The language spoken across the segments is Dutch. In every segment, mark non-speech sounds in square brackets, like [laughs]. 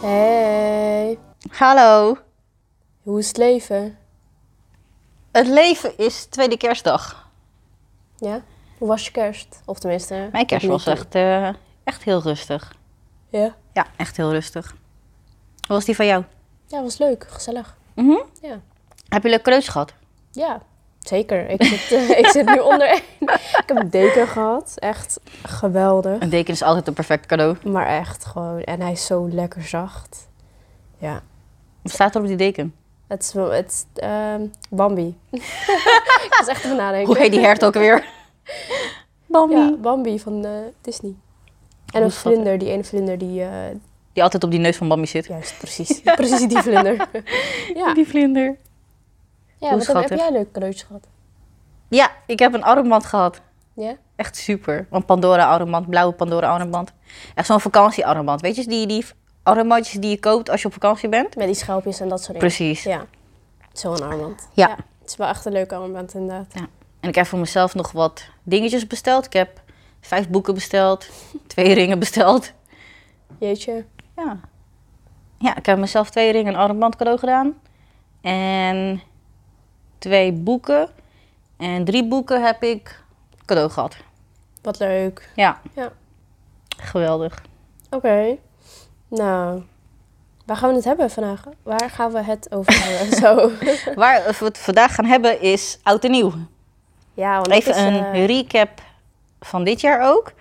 Hey, Hallo. hoe is het leven? Het leven is tweede kerstdag. Ja? Hoe was je kerst? Of tenminste... Mijn kerst was echt, eh, echt heel rustig. Ja? Ja, echt heel rustig. Hoe was die van jou? Ja, was leuk. Gezellig. Mhm. Ja. Heb je leuk cadeautjes gehad? Ja, zeker. Ik zit, eh, ik zit nu onder één. Ik heb een deken gehad. Echt geweldig. Een deken is altijd een perfect cadeau. Maar echt gewoon... En hij is zo lekker zacht. Ja. Wat staat er op die deken? Het is... wel- Het is, ehm, Bambi. [laughs] ik was echt even nadenken. Hoe heet die hert ook weer? Bambi. Ja, Bambi van eh, Disney. En Hoe een schattig. vlinder, die ene vlinder die... eh, Die altijd op die neus van Bambi zit. juist, precies. Precies die [laughs] vlinder. ja. Die vlinder. Ja, wat heb, heb schattig. jij leuke cadeautjes gehad? Ja, ik heb een armband gehad. Ja? Echt super. Een Pandora-armband, blauwe Pandora-armband. Echt zo'n vakantiearmband. Weet je, die, die armbandjes die je koopt als je op vakantie bent? Met die schelpjes en dat soort dingen. Precies. Ja. Zo'n armband. Ja. Het is wel echt een leuke armband inderdaad. En ik heb voor mezelf nog wat dingetjes besteld. Ik heb vijf boeken [laughs] besteld, twee ringen besteld. Jeetje. Ja. Ja, ik heb mezelf twee ringen en een armband cadeau gedaan. En twee boeken. En drie boeken heb ik cadeau gehad. Wat leuk. Ja. Ja. Geweldig. Oké. Nou. Waar gaan we het hebben vandaag? Waar gaan we het over [laughs] hebben? Zo. [laughs] Waar we het vandaag gaan hebben is oud en nieuw. Ja, want Oh, dat Even is, een eh, recap van dit jaar ook.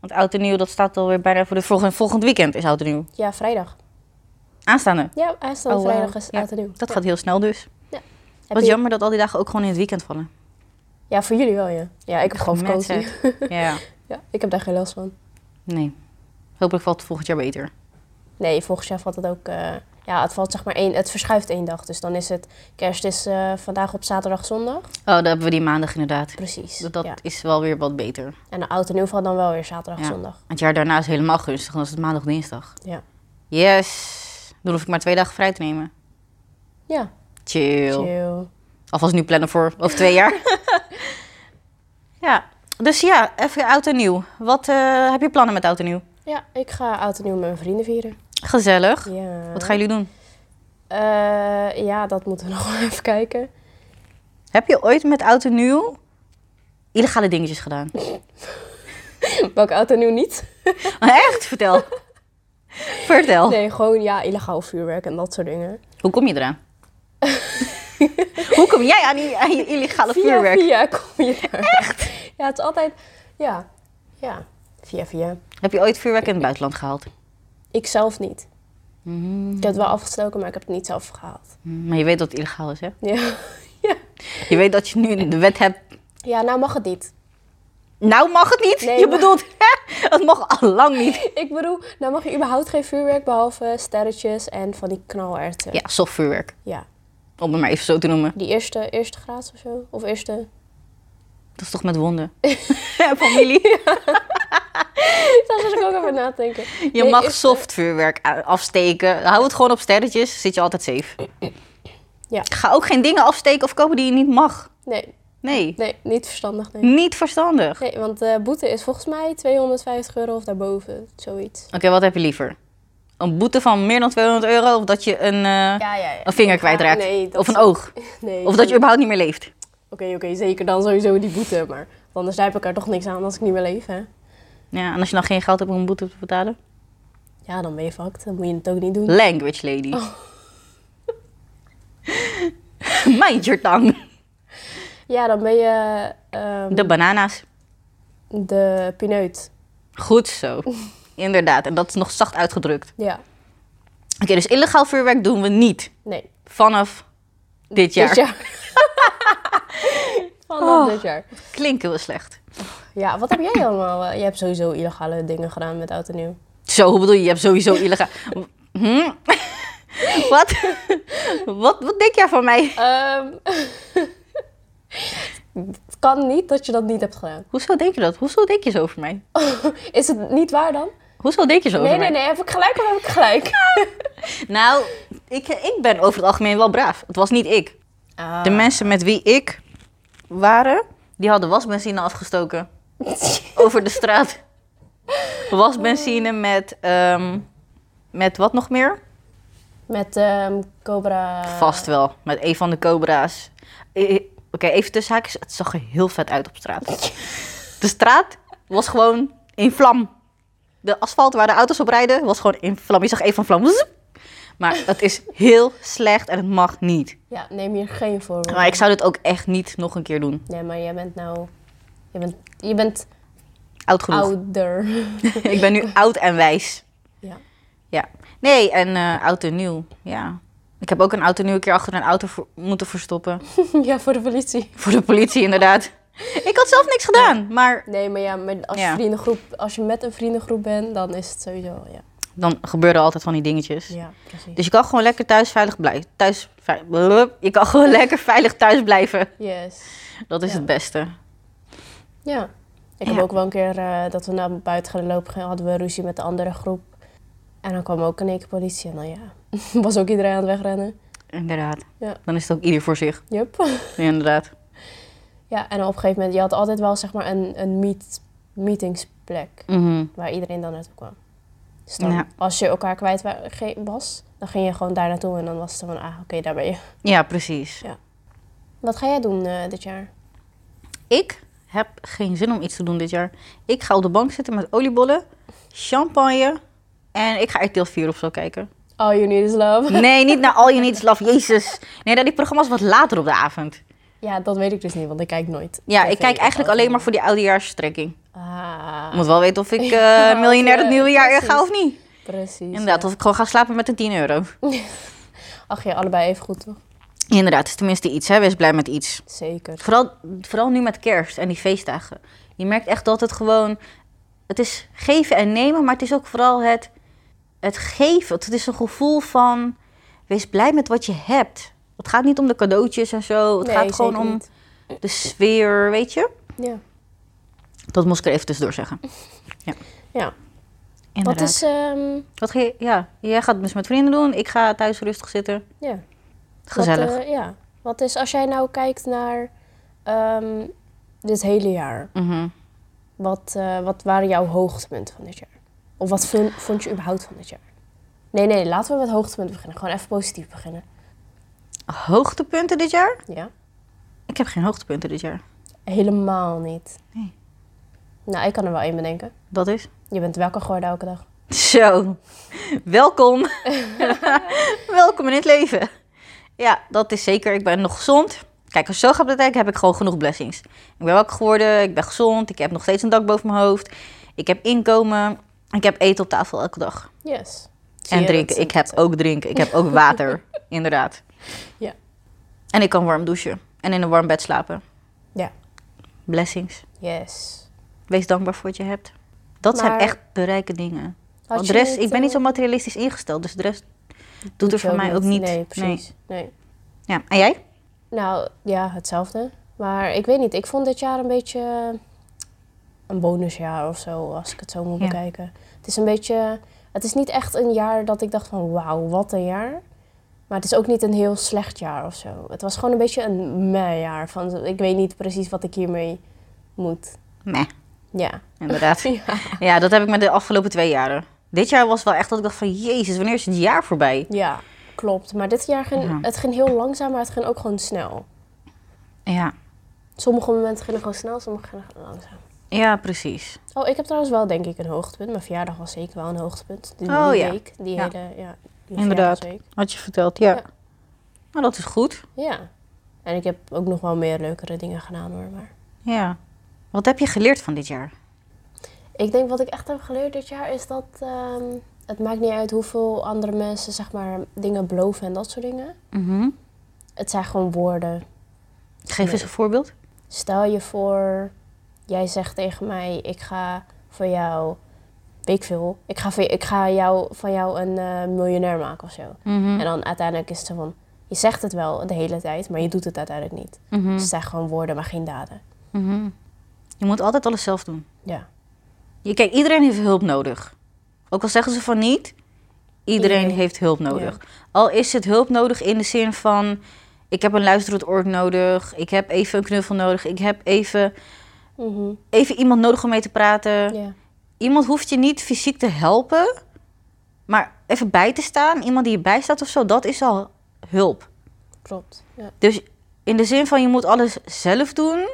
Want oud en nieuw, dat staat alweer bijna voor de volgende, volgend weekend is oud en nieuw. Ja, vrijdag. Aanstaande. Ja, aanstaande Oh, vrijdag wauw. is Ja, oud en nieuw. Dat Ja. gaat heel snel dus. Heb Wat je- jammer dat al die dagen ook gewoon in het weekend vallen. Ja, voor jullie wel, ja. Ja, ik heb gewoon Mensen. vakantie. [laughs] Ja, Ja, ik heb daar geen last van. nee. Hopelijk valt het volgend jaar beter. Nee, volgend jaar valt het ook... eh, ja, het valt zeg maar één... Het verschuift één dag. Dus dan is het... Kerst is eh, vandaag op zaterdag, zondag. Oh, dan hebben we die maandag inderdaad. Precies. Dat, dat ja. is wel weer wat beter. En de oud en nieuw valt dan wel weer zaterdag, Ja. zondag. Het jaar daarna is helemaal gunstig, dan is het maandag, dinsdag. Ja. Yes. Dan hoef ik maar twee dagen vrij te nemen. Ja, Chill. chill. Alvast nu plannen voor over twee [laughs] jaar. ja. Dus ja, even oud en nieuw. Wat eh, heb je plannen met oud en nieuw? Ja, ik ga oud en nieuw met mijn vrienden vieren. Gezellig. Ja. Wat gaan jullie doen? Eh, ja, dat moeten we [laughs] nog wel even kijken. Heb je ooit met oud en nieuw illegale dingetjes [laughs] gedaan? Welk oud en nieuw niet? Echt? [laughs] Vertel. Vertel. Nee, gewoon ja, illegaal vuurwerk en dat soort dingen. Hoe kom je eraan? Hoe kom jij aan, die, aan je illegale Via vuurwerk? via kom je daar. Echt? [laughs] Ja, het is altijd... Ja, ja. Via via. Heb je ooit vuurwerk in het buitenland gehaald? Ik zelf niet. Mhm. Ik heb het wel afgestoken, maar ik heb het niet zelf gehaald. Maar je weet dat het illegaal is, hè? Ja. [laughs] ja. Je weet dat je nu de wet hebt. ja, nou mag het niet. Nou mag het niet. Nee, je maar- bedoelt, hè? Het mag al lang niet. [laughs] Ik bedoel, nou mag je überhaupt geen vuurwerk behalve sterretjes en van die knalerten. Ja, soft vuurwerk. Ja. Om het maar even zo te noemen. Die eerste, eerste graad of zo? Of eerste? [laughs] Dat is toch met wonden? [laughs] Familie. Daar zat ik ook over na te denken. Je Nee, eh, mag eerste- soft vuurwerk a- afsteken. Hou het gewoon op sterretjes. Zit je altijd safe. Ja. Ga ook geen dingen afsteken of kopen die je niet mag. Nee, Nee. nee, niet verstandig. Nee, Niet verstandig. nee want de boete is volgens mij 250 euro of daarboven. Zoiets. Oké, wat heb je liever? Een boete van meer dan 200 euro of dat je een, eh, Ja, ja, ja. een vinger kwijtraakt? nee, dat of een zou- oog? Nee. Of dat je überhaupt niet meer leeft? Oké, oké, zeker dan sowieso die boete. Maar want anders heb ik er toch niks aan als ik niet meer leef, hè? Ja, en als je nog geen geld hebt om een boete te betalen? Ja, dan ben je fucked. Dan moet je het ook niet doen. Language lady. Oh. [laughs] Mind your tongue. Ja, dan ben je ehm, De banana's. de pineut. Goed zo. Inderdaad, en dat is nog zacht uitgedrukt. Ja, Oké, dus illegaal vuurwerk doen we niet nee. vanaf dit jaar. Oh. Dit jaar. [laughs] Vanaf dit jaar. Klinken we slecht. Ja, wat heb jij allemaal? eh, Je hebt sowieso illegale dingen gedaan met oud en nieuw. Zo, hoe bedoel je? Je hebt sowieso illegaal... [laughs] Hm? wat? wat? Wat denk jij van mij? Ehm, [laughs] het kan niet dat je dat niet hebt gedaan. Hoezo denk je dat? Hoezo denk je zo over mij? Is het niet waar dan? Hoezo denk je zo Nee, over nee, mij? nee. Heb ik gelijk of heb ik [laughs] gelijk? Nou, Ah. Ah. ik, ik ben over het algemeen wel braaf. Het was niet ik. De mensen met wie ik waren, die hadden wasbenzine afgestoken. [laughs] over de straat. Wasbenzine met, ehm, met wat nog meer? Met ehm, Cobra. Vast wel, met een van de cobra's. Eh, eh, Oké, even tussen haakjes, het zag er heel vet uit op straat. De straat was gewoon in vlam. De asfalt waar de auto's op rijden was gewoon in vlam. Je zag even een vlam. Zoep. Maar het is heel slecht en het mag niet. Ja, neem hier geen voorbeeld. Maar ik zou dit ook echt niet nog een keer doen. Nee, maar jij bent nou. Je bent, je bent Oud genoeg. ouder. [laughs] [laughs] ik ben nu oud en wijs. Ja. [laughs] Ja. Nee, en eh, oud en nieuw. Ja. Ik heb ook een oud en nieuw een keer achter een auto vo- moeten verstoppen. ja, voor de politie. Voor de politie, inderdaad. Ik had zelf niks gedaan, maar Nee, maar ja, maar als, Ja. Je vriendengroep, als je met een vriendengroep bent, dan is het sowieso. Ja, dan gebeurden altijd van die dingetjes. ja precies. Dus je kan gewoon lekker thuis veilig blijven. Thuis, vei- blup. je kan gewoon [laughs] lekker veilig thuis blijven. Yes. Dat is Ja. het beste. Ja. Ik heb Ja. ook wel een keer eh, dat we naar buiten gaan lopen, gingen, hadden we ruzie met de andere groep. En dan kwam ook in één keer politie en dan ja, [laughs] was ook iedereen aan het wegrennen. Inderdaad. Ja. Dan is het ook ieder voor zich. Yup. Ja, inderdaad. Ja, en op een gegeven moment, je had altijd wel zeg maar een, een meet, meetingsplek Mhm. waar iedereen dan naartoe kwam. Dus dan, Ja. als je elkaar kwijt wa- ge- was, dan ging je gewoon daar naartoe en dan was het van, ah, oké, daar ben je. Ja, precies. Wat ga jij doen eh, dit jaar? Ik heb geen zin om iets te doen dit jaar. Ik ga op de bank zitten met oliebollen, champagne en ik ga RTL 4 of zo [laughs] kijken. All you need is love. Nee, niet naar All You Need Is Love, jezus. Nee, dat die programma's wat later op de avond. Ja, dat weet ik dus niet, want ik kijk nooit. Ja, TV ik kijk eigenlijk of- alleen maar voor die oudejaarstrekking. Ah, Ik moet wel weten of ik eh, Ja, of, miljonair eh, het nieuwe jaar in precies. ga of niet. precies. Inderdaad, ja. of ik gewoon ga slapen met een 10 euro. Ach ja, allebei even goed, toch? Inderdaad, het is tenminste iets, hè. Wees blij met iets. Zeker. Vooral, vooral nu met kerst en die feestdagen. Je merkt echt dat het gewoon... Het is geven en nemen, maar het is ook vooral het, het geven. Het is een gevoel van... Wees blij met wat je hebt. Het gaat niet om de cadeautjes en zo. Het Nee, gaat gewoon zeker om niet. de sfeer, weet je? Ja. Dat moest ik er even tussendoor [laughs] zeggen. Ja. Ja. Wat Inderdaad. is, ehm, Wat ga je, ja, jij gaat het dus met vrienden doen. Ik ga thuis rustig zitten. ja. Gezellig. Wat, eh, ja. Wat is, als jij nou kijkt naar ehm, dit hele jaar, Mhm. wat, eh, wat waren jouw hoogtepunten van dit jaar? Of wat vond, vond je überhaupt van dit jaar? Nee, nee, laten we met hoogtepunten beginnen. Gewoon even positief beginnen. Hoogtepunten dit jaar? Ja? Ik heb geen hoogtepunten dit jaar. Helemaal niet. Nee. Nou, ik kan er wel één bedenken. Dat is... [laughs] Je bent wakker geworden elke dag. Zo, welkom. [laughs] welkom in het leven. Ja, dat is zeker. Ik ben nog gezond. Kijk, als ik zo gaat bekijken, heb ik gewoon genoeg blessings. Ik ben wakker geworden, ik ben gezond, ik heb nog steeds een dak boven mijn hoofd. Ik heb inkomen, ik heb eten op tafel elke dag. Yes. Zie En je, drinken, dat- ik heb ook drinken, ik heb ook [laughs] water, inderdaad. Ja. En ik kan warm douchen en in een warm bed slapen. Ja. Blessings. Yes. Wees dankbaar voor wat je hebt. Dat zijn Maar- echt de rijke dingen. Had Want je Oh, de rest, ik ben eh, niet zo materialistisch ingesteld, dus de rest doet, er je voor mij ook niet. Nee, precies. nee. Nee. Ja. En jij? Nou ja, hetzelfde. Maar ik weet niet, ik vond dit jaar een beetje eh, een bonusjaar of zo, als ik het zo moet Ja. bekijken. Het is een beetje, het is niet echt een jaar dat ik dacht van wauw, wat een jaar. Maar het is ook niet een heel slecht jaar of zo. Het was gewoon een beetje een meh-jaar. Van ik weet niet precies wat ik hiermee moet. Nee, Ja. inderdaad. [laughs] Ja. ja, dat heb ik met de afgelopen twee jaren. Dit jaar was wel echt dat ik dacht van, jezus, wanneer is het jaar voorbij? ja, klopt. Maar dit jaar ging Ja. het ging heel langzaam, maar het ging ook gewoon snel. Ja, Sommige momenten gingen gewoon snel, sommige gingen gewoon langzaam. ja precies. Oh, ik heb trouwens wel denk ik een hoogtepunt. Mijn verjaardag was zeker wel een hoogtepunt. Die, Oh, die ja. week, die Ja. hele, ja, die Inderdaad. verjaardagsweek. Had je verteld, ja. Ja. Nou, dat is goed. Ja. En ik heb ook nog wel meer leukere dingen gedaan hoor. Maar Ja. Wat heb je geleerd van dit jaar? ik denk wat ik echt heb geleerd dit jaar is dat ehm, het maakt niet uit hoeveel andere mensen zeg maar dingen beloven en dat soort dingen. Mhm. Het zijn gewoon woorden. Geef eens een voorbeeld. Stel je voor, jij zegt tegen mij, ik ga voor jou, weet ik veel, ik ga, voor- ik ga jou, van jou een eh, miljonair maken of zo. Mhm. En dan uiteindelijk is het zo van, je zegt het wel de hele tijd, maar je doet het uiteindelijk niet. Mhm. Dus het zijn gewoon woorden, maar geen daden. Mhm. Je moet altijd alles zelf doen. Ja. Je, kijk, iedereen heeft hulp nodig. Ook al zeggen ze van niet, iedereen Iedereen. heeft hulp nodig. Al is het hulp nodig in de zin van Ik heb een luisterend oor nodig. Ik heb even een knuffel nodig. Ik heb even, Mhm. even iemand nodig om mee te praten. Ja. Iemand hoeft je niet fysiek te helpen. Maar even bij te staan. Iemand die je bijstaat of zo. Dat is al hulp. Klopt. Ja. Dus in de zin van je moet alles zelf doen.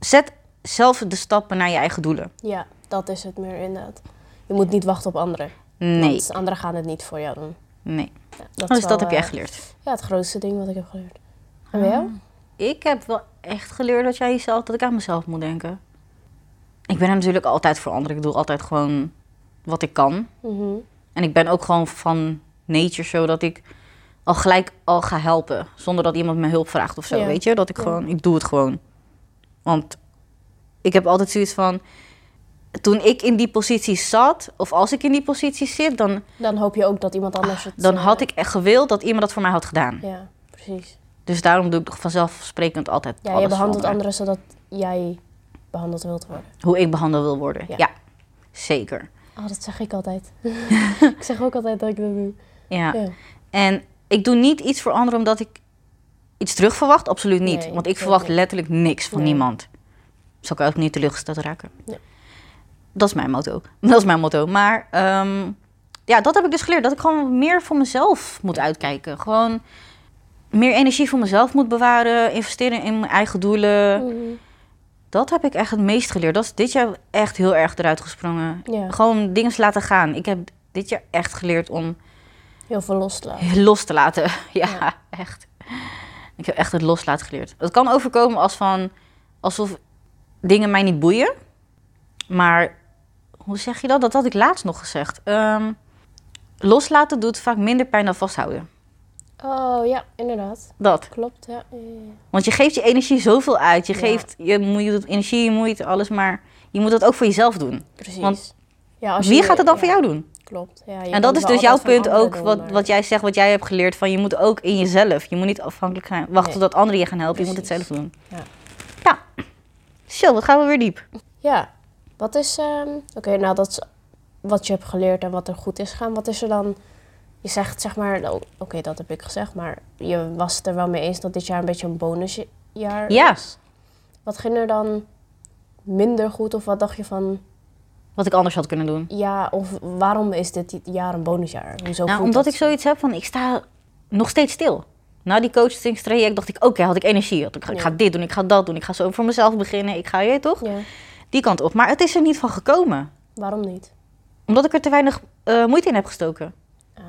Zet zelf de stappen naar je eigen doelen. ja, dat is het meer inderdaad. Je moet niet wachten op anderen. Nee. Want anderen gaan het niet voor jou doen. nee. Ja, is Dus wel, dat heb je eh, echt geleerd. Ah. Ja, het grootste ding wat ik heb geleerd. En bij jou? Ik heb wel echt geleerd dat jij jezelf, dat ik aan mezelf moet denken. Ik ben er natuurlijk altijd voor anderen. Ik doe altijd gewoon wat ik kan. Mhm. En ik ben ook gewoon van nature zo dat ik al gelijk al ga helpen. Zonder dat iemand me hulp vraagt of zo, Ja. weet je? Dat ik Ja. gewoon, ik doe het gewoon. Want ik heb altijd zoiets van... Toen ik in die positie zat, of als ik in die positie zit... dan, Dan hoop je ook dat iemand anders het... Ah, dan eh, had ik echt gewild dat iemand dat voor mij had gedaan. Ja, precies. Dus daarom doe ik toch vanzelfsprekend altijd Ja, alles je voor behandelt anderen. anderen zodat jij behandeld wilt worden. Hoe ik behandeld wil worden, Ja. ja. Zeker. Oh, dat zeg ik [laughs] altijd. [laughs] ik zeg ook altijd dat ik dat doe. Ja. Ja. En ik doe niet iets voor anderen omdat ik iets terug verwacht. Absoluut niet. Nee, Want ik zeker verwacht niet. letterlijk niks van Nee. niemand. Zo kan ik ook niet teleurgesteld raken. Nee. Dat is mijn motto. [laughs] Dat is mijn motto. Maar ehm, ja, dat heb ik dus geleerd. Dat ik gewoon meer voor mezelf moet uitkijken. Gewoon meer energie voor mezelf moet bewaren. Investeren in mijn eigen doelen. Mhm. Dat heb ik echt het meest geleerd. Dat is dit jaar echt heel erg eruit gesprongen. Ja. Gewoon dingen laten gaan. Ik heb dit jaar echt geleerd om Heel veel los te laten. los te laten. [laughs] Ja, Ja. echt. Ik heb echt het loslaten geleerd. Het kan overkomen als van, alsof dingen mij niet boeien. Maar hoe zeg je dat? Dat had ik laatst nog gezegd. Ehm, loslaten doet vaak minder pijn dan vasthouden. Oh ja, inderdaad. Dat. Klopt, ja. Ja, ja, ja. Want je geeft je energie zoveel uit. Je Ja. geeft je, moe- je doet energie, je moeite, alles. Maar je moet dat ook voor jezelf doen. Precies. Want ja, als Wie je- gaat het dan ja, voor jou doen? Klopt. Ja, je en kan dat is wel dus jouw altijd eh. van punt ook, anderen doen, wat, maar- wat jij zegt, wat jij hebt geleerd. Van je moet ook in jezelf. Je moet niet afhankelijk zijn. Wachten Nee. totdat anderen je gaan helpen. Je moet het Precies. zelf doen. Ja. Ja. Zo, we gaan we weer diep. Ja, wat is... ehm, Oké, nou dat is wat je hebt geleerd en wat er goed is gegaan. Wat is er dan... Je zegt zeg maar... nou, Oké, dat heb ik gezegd, maar je was het er wel mee eens dat dit jaar een beetje een bonusjaar Ja. is. Wat ging er dan minder goed of wat dacht je van... Wat ik anders had kunnen doen. Ja, of waarom is dit jaar een bonusjaar? Hoezo Nou, voelt omdat dat ik zoiets heb van, ik sta nog steeds stil. Na die coachingstraject dacht ik, oké, had ik energie. Had ik, ik ga Ja. dit doen, ik ga dat doen. Ik ga zo voor mezelf beginnen. Ik ga, je weet toch, Ja, die kant op. Maar het is er niet van gekomen. waarom niet? Omdat ik er te weinig eh, moeite in heb gestoken. Ah,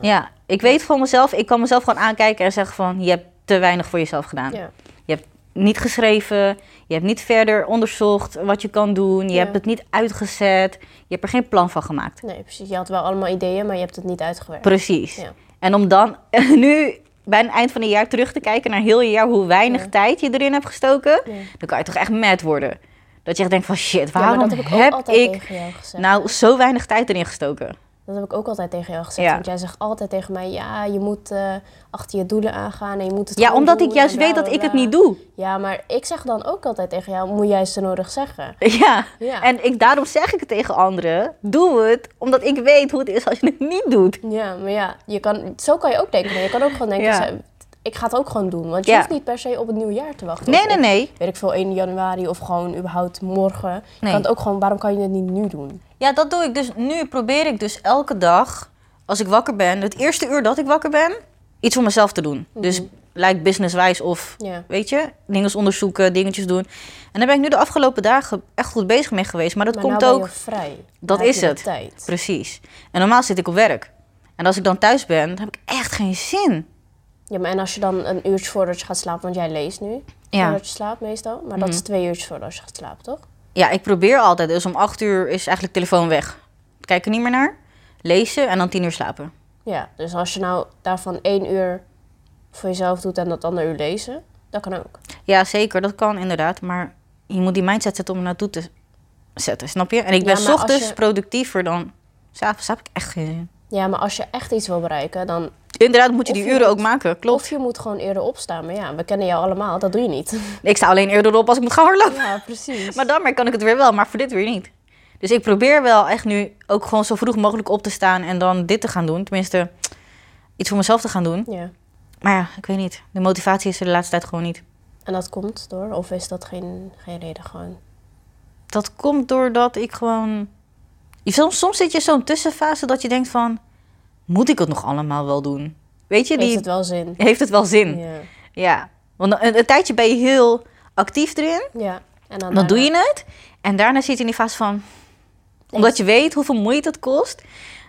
Ja, ik weet van mezelf, ik kan mezelf gewoon aankijken en zeggen van, je hebt te weinig voor jezelf gedaan. ja. Je hebt niet geschreven, je hebt niet verder onderzocht wat je kan doen, je Ja. hebt het niet uitgezet, je hebt er geen plan van gemaakt. Nee, precies. Je had wel allemaal ideeën, maar je hebt het niet uitgewerkt. Precies. Ja. En om dan [laughs] nu bij het eind van het jaar terug te kijken naar heel je jaar, hoe weinig Ja. tijd je erin hebt gestoken, Ja. dan kan je toch echt mad worden. Dat je echt denkt van shit, Ja, maar waarom dat heb ik ook heb altijd ik tegen jou gezegd. nou zo weinig tijd erin gestoken? Dat heb ik ook altijd tegen jou gezegd. Ja. Want jij zegt altijd tegen mij, ja, je moet eh, achter je doelen aangaan en je moet Oh, het nou Ja, gewoon omdat ik doen juist en bla, weet dat bla, ik het bla. niet doe. [laughs] Ja, maar ik zeg dan ook altijd tegen jou, moet jij eens te nodig zeggen. Ja. Ja. En ik, daarom zeg ik het tegen anderen, doe het, omdat ik weet hoe het is als je het niet doet. Ja, maar ja, je kan, zo kan je ook denken. Je kan ook gewoon denken, Ja. "Zo, ik ga het ook gewoon doen. Want je Ja. hoeft niet per se op het nieuwe jaar te wachten. Nee, Of nee, op, nee. Weet ik veel, 1 januari of gewoon überhaupt morgen. Je Nee. kan het ook gewoon, waarom kan je het niet nu doen? Ja, dat doe ik dus. Nu probeer ik dus elke dag, als ik wakker ben, het eerste uur dat ik wakker ben, iets voor mezelf te doen. Dus lijkt businesswijs of, Mhm. Ja. weet je, dingen onderzoeken, dingetjes doen. En daar ben ik nu de afgelopen dagen echt goed bezig mee geweest. Maar dat Maar komt nou ook, ben je vrij. dat Dan heb is je de het. tijd. Precies. En normaal zit ik op werk. En als ik dan thuis ben, dan heb ik echt geen zin. Ja, maar en als je dan een uurtje voordat je gaat slapen, want jij leest nu Ja. Mhm. voordat je slaapt meestal, maar dat is twee uurtjes voordat je gaat slapen, toch? Ja, ik probeer altijd. Dus om acht uur is eigenlijk telefoon weg. Kijk er niet meer naar. Lezen en dan tien uur slapen. Ja, dus als je nou daarvan één uur voor jezelf doet en dat andere uur lezen, dat kan ook. Ja, zeker. Dat kan inderdaad. Maar je moet die mindset zetten om er naartoe te zetten. Snap je? En ik ben Ja, s maar als ochtends je- productiever dan... S'avonds heb ik echt geen zin. Ja, maar als je echt iets wil bereiken, dan... Inderdaad, moet je Of die je uren ook moet- maken. Klopt. Of je moet gewoon eerder opstaan, maar ja, we kennen jou allemaal, dat doe je [laughs] niet. Ik sta alleen eerder op als ik moet gaan hardlopen. Ja, precies. Maar dan maar kan ik het weer wel, maar voor dit weer niet. Dus ik probeer wel echt nu ook gewoon zo vroeg mogelijk op te staan en dan dit te gaan doen. Tenminste, iets voor mezelf te gaan doen. Ja, Maar ja, ik weet niet. De motivatie is er de laatste tijd gewoon niet. En dat komt door? Of is dat geen, geen reden gewoon? Dat komt doordat ik gewoon... Soms, soms zit je in zo'n tussenfase dat je denkt van... Moet ik het nog allemaal wel doen? Weet je, die... Heeft het wel zin? Heeft het wel zin? Ja. Ja. Want een, een tijdje ben je heel actief erin. ja. En dan, Dan doe daarna- je het. En daarna zit je in die fase van... Omdat je weet hoeveel moeite het kost.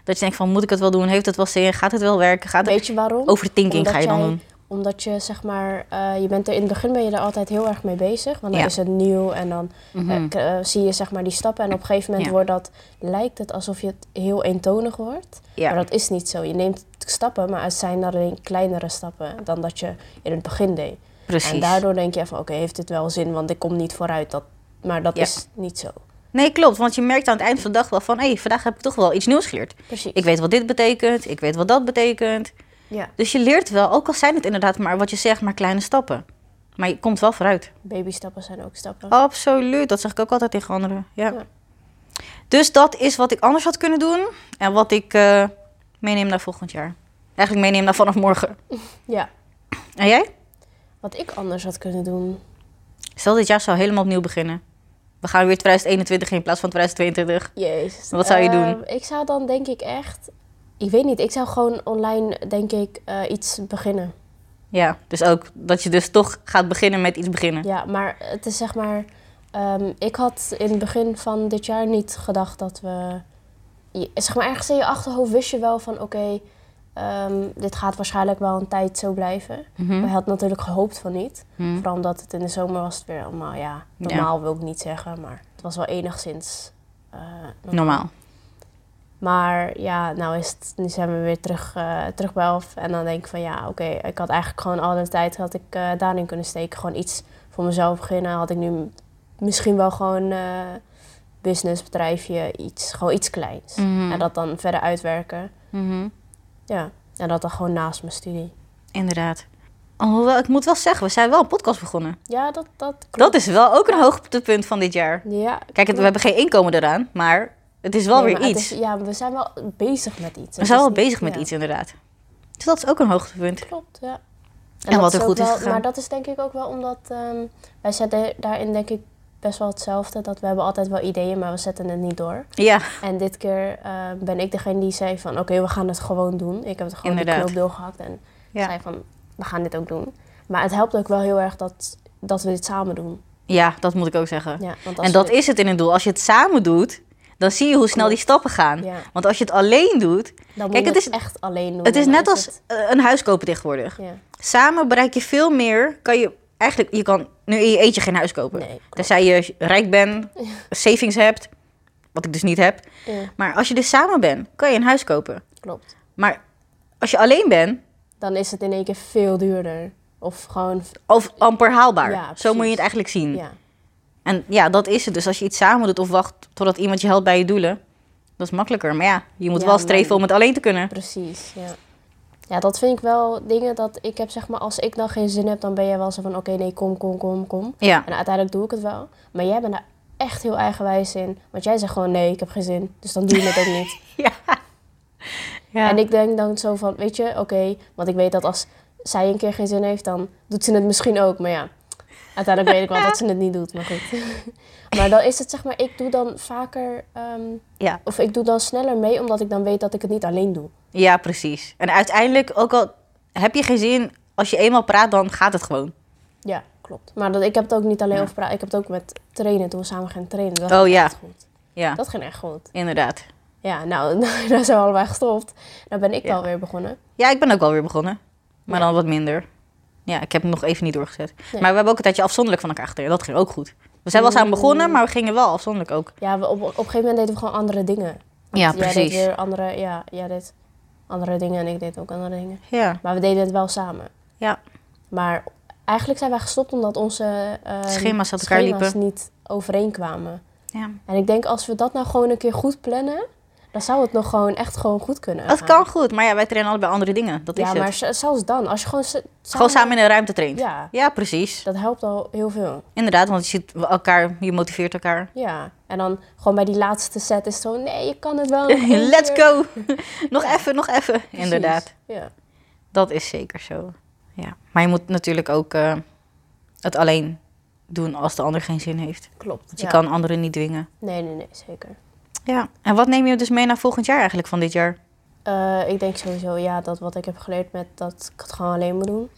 Dat je denkt van, moet ik het wel doen? Heeft het wel zin? Gaat het wel werken? Gaat het... Weet je waarom? Overthinking ga je dan jij- doen. Omdat je zeg maar, eh, je bent er, in het begin ben je er altijd heel erg mee bezig. Want dan Ja. is het nieuw en dan eh, k- eh, zie je zeg maar die stappen. En op een gegeven moment Ja. wordt dat, lijkt het alsof je het heel eentonig wordt. Ja. Maar dat is niet zo. Je neemt stappen, maar het zijn alleen kleinere stappen dan dat je in het begin deed. Precies. En daardoor denk je van oké, heeft dit wel zin? Want ik kom niet vooruit. Dat, maar dat Ja. is niet zo. Nee, klopt. Want je merkt aan het eind van de dag wel van... Hé, hey, vandaag heb ik toch wel iets nieuws geleerd. Precies. Ik weet wat dit betekent. Ik weet wat dat betekent. Ja, Dus je leert wel. Ook al zijn het inderdaad maar wat je zegt, maar kleine stappen. Maar je komt wel vooruit. babystappen zijn ook stappen. Oh. Absoluut, dat zeg ik ook altijd tegen anderen. Ja. Ja. Dus dat is wat ik anders had kunnen doen en wat ik eh, meeneem naar volgend jaar. Eigenlijk meeneem naar vanaf morgen. Ja, En jij? wat ik anders had kunnen doen. Stel dit jaar zou helemaal opnieuw beginnen. We gaan weer 2021 in plaats van 2022. Jezus. Wat zou je doen? Ehm, ik zou dan denk ik echt... Ik weet niet, ik zou gewoon online denk ik eh, iets beginnen. Ja, dus ook dat je dus toch gaat beginnen met iets beginnen. Ja, maar het is zeg maar... ehm, ik had in het begin van dit jaar niet gedacht dat we... je- zeg maar ergens in je achterhoofd wist je wel van oké, ehm, dit gaat waarschijnlijk wel een tijd zo blijven. Mhm. Maar je had natuurlijk gehoopt van niet. Mhm. Vooral omdat het in de zomer was het weer allemaal, ja, normaal wil ik niet zeggen, maar het was wel enigszins eh, Normaal. Maar ja, nou is het, nu zijn we weer terug, eh, terug bij elf. En dan denk ik van ja, oké, ik had eigenlijk gewoon al de tijd had ik eh, daarin kunnen steken. Gewoon iets voor mezelf beginnen. Had ik nu m- misschien wel gewoon eh business, bedrijfje, iets, gewoon iets kleins. Mhm. En dat dan verder uitwerken. Mhm. Ja, en dat dan gewoon naast mijn studie. Inderdaad. Alhoewel, ik moet wel zeggen, we zijn wel een podcast begonnen. Ja, dat, dat klopt. Dat is wel ook een hoogtepunt van dit jaar. Ja, Kijk, het- we hebben geen inkomen eraan, maar het is wel Nee, weer maar het iets. is- ja, we zijn wel bezig met iets. We zijn wel bezig met iets, inderdaad. Dus dat is ook een hoogtepunt. Klopt, ja. En wat er ook goed is wel- gegaan. Maar dat is denk ik ook wel omdat ehm, wij zetten daarin denk ik best wel hetzelfde. Dat we hebben altijd wel ideeën, maar we zetten het niet door. Ja, En dit keer eh, ben ik degene die zei van oké, we gaan het gewoon doen. Ik heb het gewoon de Inderdaad. knoop doorgehakt en ja. zei van we gaan dit ook doen. Maar het helpt ook wel heel erg dat, dat we dit samen doen. ja dat moet ik ook zeggen. Ja, want als en dat we- is het in een doel. Als je het samen doet, dan zie je hoe snel die stappen gaan. Ja. Want als je het alleen doet, dan moet Kijk, je het het is- echt alleen doen. het is en dan net als het- eh, een huis kopen tegenwoordig. ja, Samen bereik je veel meer. Kan je eigenlijk, je kan nu in je eentje geen huis kopen. nee. klopt. Tenzij je rijk [laughs] bent, savings hebt, wat ik dus niet heb. Ja, Maar als je dus samen bent, kan je een huis kopen. klopt. Maar als je alleen bent, dan is het in één keer veel duurder. Of gewoon, Of amper haalbaar. Ja, precies. Zo moet je het eigenlijk zien. ja. En ja, dat is het. Dus als je iets samen doet of wacht totdat iemand je helpt bij je doelen, dat is makkelijker. Maar ja, je moet Ja, wel maar- streven om het alleen te kunnen. Precies, ja. Ja, dat vind ik wel dingen dat ik heb, zeg maar, als ik dan geen zin heb, dan ben je wel zo van, oké, nee, kom, kom, kom, kom. Ja, En uiteindelijk doe ik het wel. Maar jij bent daar echt heel eigenwijs in. Want jij zegt gewoon, nee, ik heb geen zin. Dus dan doe je het ook niet. [laughs] ja. En ik denk dan zo van, weet je, oké, want ik weet dat als zij een keer geen zin heeft, dan doet ze het misschien ook. Maar ja, uiteindelijk weet ik wel dat ze het niet doet, maar goed. [laughs] maar dan is het, zeg maar, ik doe dan vaker, ehm, Ja. of ik doe dan sneller mee, omdat ik dan weet dat ik het niet alleen doe. ja, precies. En uiteindelijk, ook al heb je geen zin, als je eenmaal praat, dan gaat het gewoon. Ja, klopt. Maar dat, ik heb het ook niet alleen Ja. over praten. Ik heb het ook met trainen, toen we samen gingen trainen. Dat Oh, ging ja. echt goed. Ja, Dat ging echt goed. inderdaad. Ja, nou, [laughs] daar zijn we allebei gestopt. Dan ben ik Ja. wel weer begonnen. Ja, ik ben ook wel weer begonnen. Maar Ja. dan wat minder. Ja, ik heb hem nog even niet doorgezet. Nee. Maar we hebben ook een tijdje afzonderlijk van elkaar gedaan. Dat ging ook goed. We zijn wel samen begonnen, maar we gingen wel afzonderlijk ook. Ja, we, op, op een gegeven moment deden we gewoon andere dingen. Ja, Jij deed precies. weer andere, ja, jij deed andere dingen en ik deed ook andere dingen. Ja, Maar we deden het wel samen. ja. Maar eigenlijk zijn wij gestopt omdat onze ehm, Schema's uit elkaar schema's liepen. niet overeenkwamen. ja. En ik denk als we dat nou gewoon een keer goed plannen, dan zou het nog gewoon echt gewoon goed kunnen. Dat gaan. kan goed, maar ja, wij trainen allebei andere dingen. Dat is Ja, het. maar z- zelfs dan, als je gewoon z- samen... Gewoon samen in een ruimte traint. Ja. Ja, precies. dat helpt al heel veel. Inderdaad, want je ziet elkaar, je motiveert elkaar. Ja, en dan gewoon bij die laatste set is het zo, nee, je kan het [laughs] wel. nog één Let's keer. go! nog even, nog even. Precies, Inderdaad, Ja. dat is zeker zo. Ja. Maar je moet natuurlijk ook eh, het alleen doen als de ander geen zin heeft. Klopt. Want je ja. kan anderen niet dwingen. Nee, nee, nee, zeker. Ja. En wat neem je dus mee naar volgend jaar eigenlijk van dit jaar? Eh, ik denk sowieso, ja, dat wat ik heb geleerd met dat ik het gewoon alleen moet doen.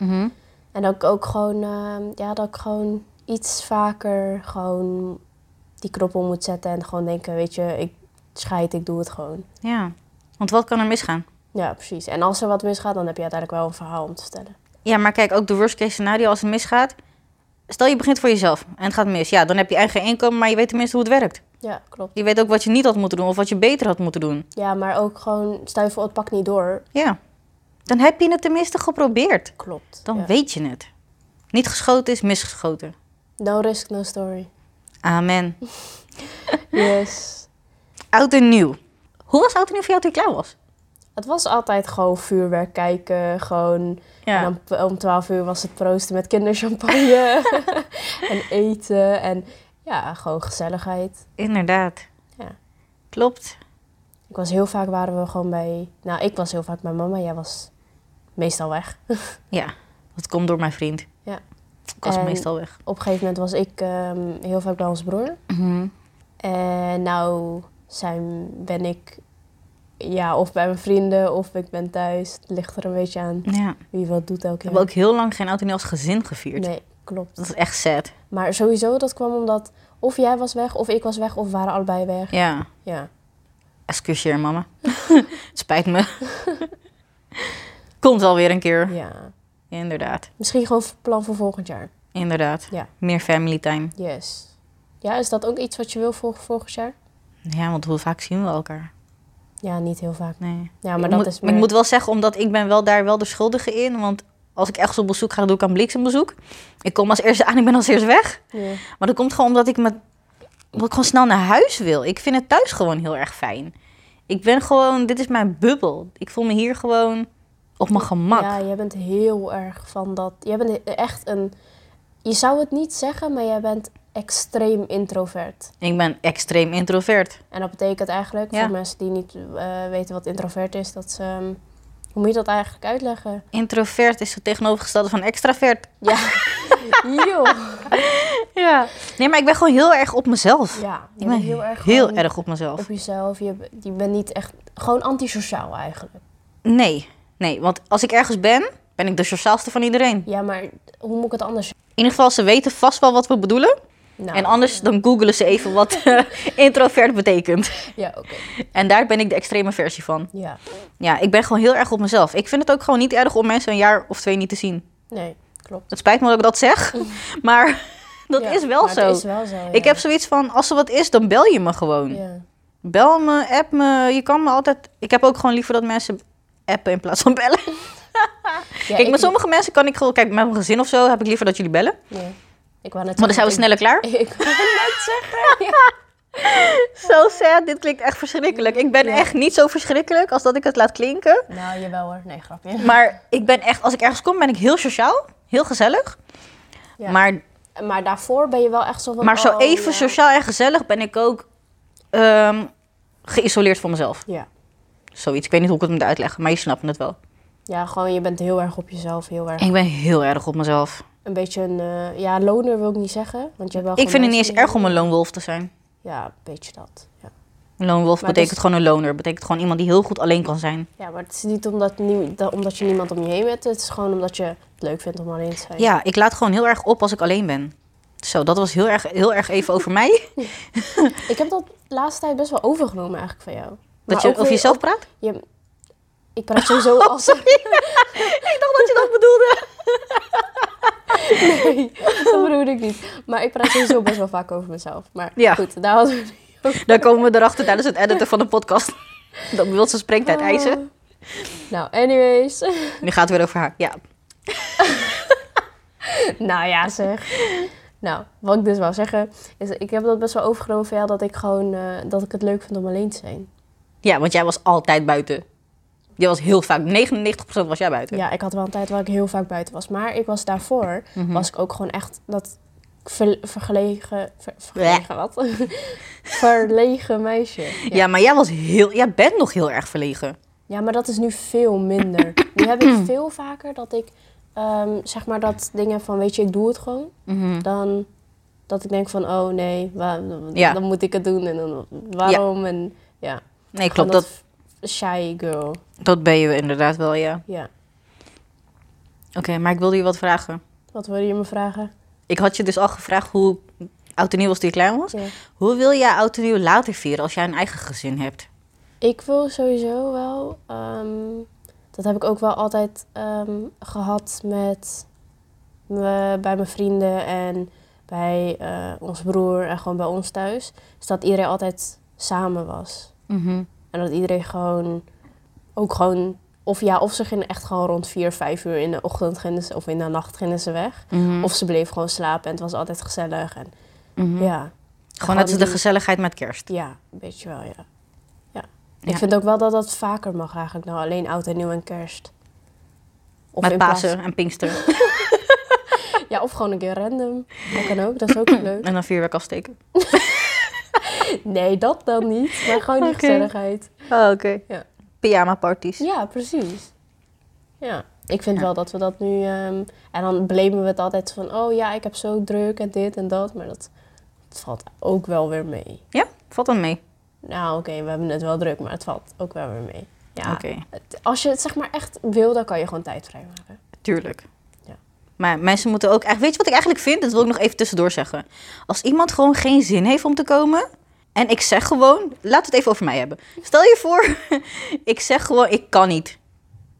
En dat ik ook gewoon, eh, ja, dat ik gewoon iets vaker gewoon die knoppen moet zetten en gewoon denken, weet je, ik scheid, ik doe het gewoon. Ja. Want wat kan er misgaan? Ja, precies. En als er wat misgaat, dan heb je uiteindelijk wel een verhaal om te vertellen. Ja, maar kijk, ook de worst case scenario als het misgaat. Stel je begint voor jezelf en het gaat mis. Ja, dan heb je eigen inkomen, maar je weet tenminste hoe het werkt. Ja, klopt. Je weet ook wat je niet had moeten doen of wat je beter had moeten doen. Ja, maar ook gewoon, stel je voor, het pakt niet door. Ja. Dan heb je het tenminste geprobeerd. Klopt. Dan ja. weet je het. Niet geschoten is misgeschoten. No risk, no [laughs] story. Amen. Yes. Oud en nieuw. Hoe was oud en nieuw voor jou toen je klaar was? het was altijd gewoon vuurwerk kijken, gewoon En En dan p- om 12 uur was het proosten met kinderchampagne [laughs] [laughs] en eten en ja, gewoon gezelligheid. dan- Inderdaad. Ja. Klopt. Ik was heel vaak, waren we gewoon bij, nou ik was heel vaak bij mama, jij was meestal weg. Ja. Dat komt door mijn vriend. Ja. Ik was En- meestal weg. Op een gegeven moment was ik ehm, heel vaak bij onze broer. En nou zijn, ben ik ja, of bij mijn vrienden of ik ben thuis. Het ligt er een beetje aan Ja. We wie wat doet elke keer. hebben ook heel lang geen oud en nieuw als gezin gevierd. Nee, klopt. Dat is echt sad. Maar sowieso, dat kwam omdat of jij was weg of ik was weg of we waren allebei weg. Ja. Ja, [laughs] Excuseer, mama. Het Spijt me. Komt alweer een keer. ja. Inderdaad. Misschien gewoon v- plan voor volgend jaar. Inderdaad. Ja. Meer family time. Yes. Ja, is dat ook iets wat je wil voor volgend jaar? Ja, want hoe vaak zien we elkaar? Ja, niet heel vaak. Nee. Ja, maar ik dat moet, is Ik meer- moet wel zeggen, omdat ik ben wel daar wel de schuldige in. Want als ik echt op bezoek ga, doe ik aan bliksembezoek. Ik kom als eerste aan, ik ben als eerste weg. Ja. Maar dat komt gewoon omdat ik, me, omdat ik gewoon snel naar huis wil. Ik vind het thuis gewoon heel erg fijn. Ik ben gewoon, dit is mijn bubbel. Ik voel me hier gewoon op mijn gemak. ja, jij bent heel erg van dat. Jij bent e-, echt een. Je zou het niet zeggen, maar jij bent extreem introvert. Ik ben extreem introvert. En dat betekent eigenlijk, Ja. voor mensen die niet eh, weten wat introvert is, dat ze. ehm, hoe moet je dat eigenlijk uitleggen? Introvert is het tegenovergestelde van extravert. Ja. [laughs] Joh. Ja. Nee, maar ik ben gewoon heel erg op mezelf. Ja, je ik ben bent heel erg. heel gewoon erg op mezelf. Op jezelf. Je, b- je bent niet echt. Gewoon antisociaal eigenlijk. Nee, nee, want als ik ergens ben, ben ik de sociaalste van iedereen. In Ja, maar hoe moet ik het anders ieder geval, ze weten vast wel wat we bedoelen. Nou, En anders dan googelen ze even wat [laughs] eh, introvert betekent. Ja, oké. En daar ben ik de extreme versie van. Ja, Ja, ik ben gewoon heel erg op mezelf. Ik vind het ook gewoon niet erg om mensen een jaar of twee niet te zien. nee, klopt. Het spijt me dat ik dat [laughs] zeg, [laughs] maar dat Ja, is wel maar zo. Het is wel zo. Ik ja. heb zoiets van, als er wat is, dan bel je me gewoon. Ja. Bel me, app me, je kan me altijd... Ik heb ook gewoon liever dat mensen appen in plaats van bellen. Ja, Kijk, met sommige mensen kan ik gewoon... Kijk, met mijn gezin of zo heb ik liever dat jullie bellen. Ja. Ik wou net Maar dan zijn zeggen, we sneller klaar. [laughs] Ik, ik wou [laughs] net zeggen. Ja. Zo sad, dit klinkt echt verschrikkelijk. Ik ben Ja. echt niet zo verschrikkelijk als dat ik het laat klinken. Nou, jawel hoor. Nee, grapje. Maar ik ben echt, als ik ergens kom, ben ik heel sociaal. Heel gezellig. Ja. Maar, Maar daarvoor ben je wel echt zo van... maar zo oh, even ja. sociaal en gezellig ben ik ook ehm, geïsoleerd van mezelf. Ja. Zoiets. Ik weet niet hoe ik het moet uitleggen, maar je snapt het wel. ja, gewoon je bent heel erg op jezelf. Heel erg. Ik ben heel erg op mezelf. Een beetje een... eh, ja, loner wil ik niet zeggen. Want je hebt wel Ik vind het niet eens erg om een... een loonwolf te zijn. Ja, een beetje dat. Ja. Een loonwolf Maar betekent dus- gewoon een loner. Betekent gewoon iemand die heel goed alleen kan zijn. ja, maar het is niet omdat, nie- dat- omdat je niemand om je heen bent. Het is gewoon omdat je het leuk vindt om alleen te zijn. Ja, ik laat gewoon heel erg op als ik alleen ben. Zo, dat was heel erg, heel erg even over mij. Ik heb dat de laatste tijd best wel overgenomen eigenlijk van jou. Dat Maar je ook over weer- jezelf praat? Je, ik praat [laughs] sowieso als... Ik dacht dat je dat bedoelde. [laughs] Nee, dat bedoel ik niet. Maar ik praat sowieso best wel vaak over mezelf. Maar Ja. goed, daar hadden we het niet over. Daar komen we erachter tijdens het editen van de podcast. [laughs] Dat wil ze spreektijd eisen. Ah. Nou, anyways. Nu gaat het weer over haar. Ja. [laughs] nou ja, zeg. Nou, wat ik dus wou zeggen, is ik heb dat best wel overgenomen van jou dat ik gewoon, eh, dat ik het leuk vind om alleen te zijn. ja, want jij was altijd buiten. Je was heel vaak. 99% was jij buiten. Ja, ik had wel een tijd waar ik heel vaak buiten was. Maar ik was daarvoor, Mhm. was ik ook gewoon echt dat ver- vergelegen, ver- vergelegen wat? [laughs] Verlegen meisje. Ja, maar jij, was heel, jij bent nog heel erg verlegen. [clears throat] Ja, maar dat is nu veel minder. nu heb ik veel vaker dat ik ehm, zeg maar dat dingen van, weet je, ik doe het gewoon. Mhm. Dan dat ik denk van, oh nee, waar, Ja. dan moet ik het doen. En dan waarom? En ja. Nee, Gewoon klopt. Dat, Shy girl, dat ben je inderdaad wel, ja. ja. Oké, maar ik wilde je wat vragen. Wat wilde je me vragen? Ik had je dus al gevraagd hoe oud en nieuw was toen je klein was. Ja. Hoe wil jij oud en nieuw later vieren als jij een eigen gezin hebt? Ik wil sowieso wel, ehm, dat heb ik ook wel altijd ehm, gehad met me, bij mijn vrienden en bij eh ons broer en gewoon bij ons thuis. Is dat iedereen altijd samen was. Mhm. En dat iedereen gewoon ook gewoon, of ja, of ze gingen echt gewoon rond vier, vijf uur in de ochtend gingen ze, of in de nacht gingen ze weg. Hm. Mhm. Of ze bleven gewoon slapen en het was altijd gezellig. En, Ja, Gewoon net als de die- gezelligheid met kerst. ja, een beetje wel, ja. ja. Ja. Ik vind ook wel dat dat vaker mag eigenlijk. Nou, alleen oud en nieuw en kerst. Of met in plaats- Pasen en [laughs] Pinkster. [laughs] Ja, of gewoon een keer random. Dat kan ook, dat [laughs] is ook leuk. en dan vuurwerk afsteken. Nee, dat dan niet. Maar gewoon die Oké. gezelligheid. Oh, oké. Ja. Pyjama parties. Ja, precies. Ja, ik vind Ja. wel dat we dat nu... ehm, en dan blamen we het altijd van... Oh ja, ik heb zo druk en dit en dat. Maar dat, dat valt ook wel weer mee. Ja, valt dan mee. Nou oké, we hebben het wel druk, maar het valt ook wel weer mee. Ja, Oké, het- als je het zeg maar echt wil, dan kan je gewoon tijd vrijmaken. tuurlijk. Ja. Maar mensen moeten ook echt... Weet je wat ik eigenlijk vind? Dat wil ik nog even tussendoor zeggen. Als iemand gewoon geen zin heeft om te komen... En ik zeg gewoon... Laat het even over mij hebben. Stel je voor... [laughs] ik zeg gewoon, ik kan niet.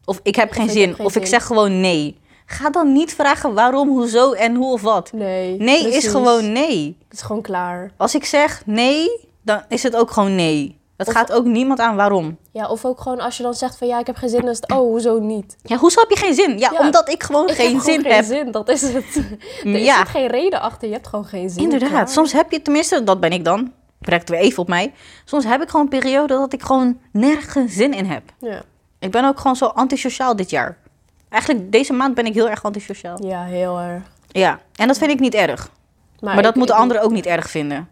Of ik heb Of geen ik heb zin. geen of ik zin. zeg gewoon nee. Ga dan niet vragen waarom, hoezo en hoe of wat. Nee. Nee precies. is gewoon nee. Het is gewoon klaar. Als ik zeg nee, dan is het ook gewoon nee. Het Of- gaat ook niemand aan waarom. Ja, of ook gewoon als je dan zegt van ja, ik heb geen zin, dan is het oh, hoezo niet? Ja, hoezo heb je geen zin? Ja, Ja, omdat ik gewoon Ik geen heb gewoon zin geen heb. zin, dat is [laughs] het. er Ja. zit geen reden achter, je hebt gewoon geen zin. Inderdaad, klaar. soms heb je tenminste, dat ben ik dan. Ik werk weer even op mij. Soms heb ik gewoon een periode dat ik gewoon nergens zin in heb. Ja. Ik ben ook gewoon zo antisociaal dit jaar. Eigenlijk deze maand ben ik heel erg antisociaal. ja, heel erg. Ja, en dat vind ik niet erg. Maar, ik- dat moeten ik- anderen ook niet erg vinden.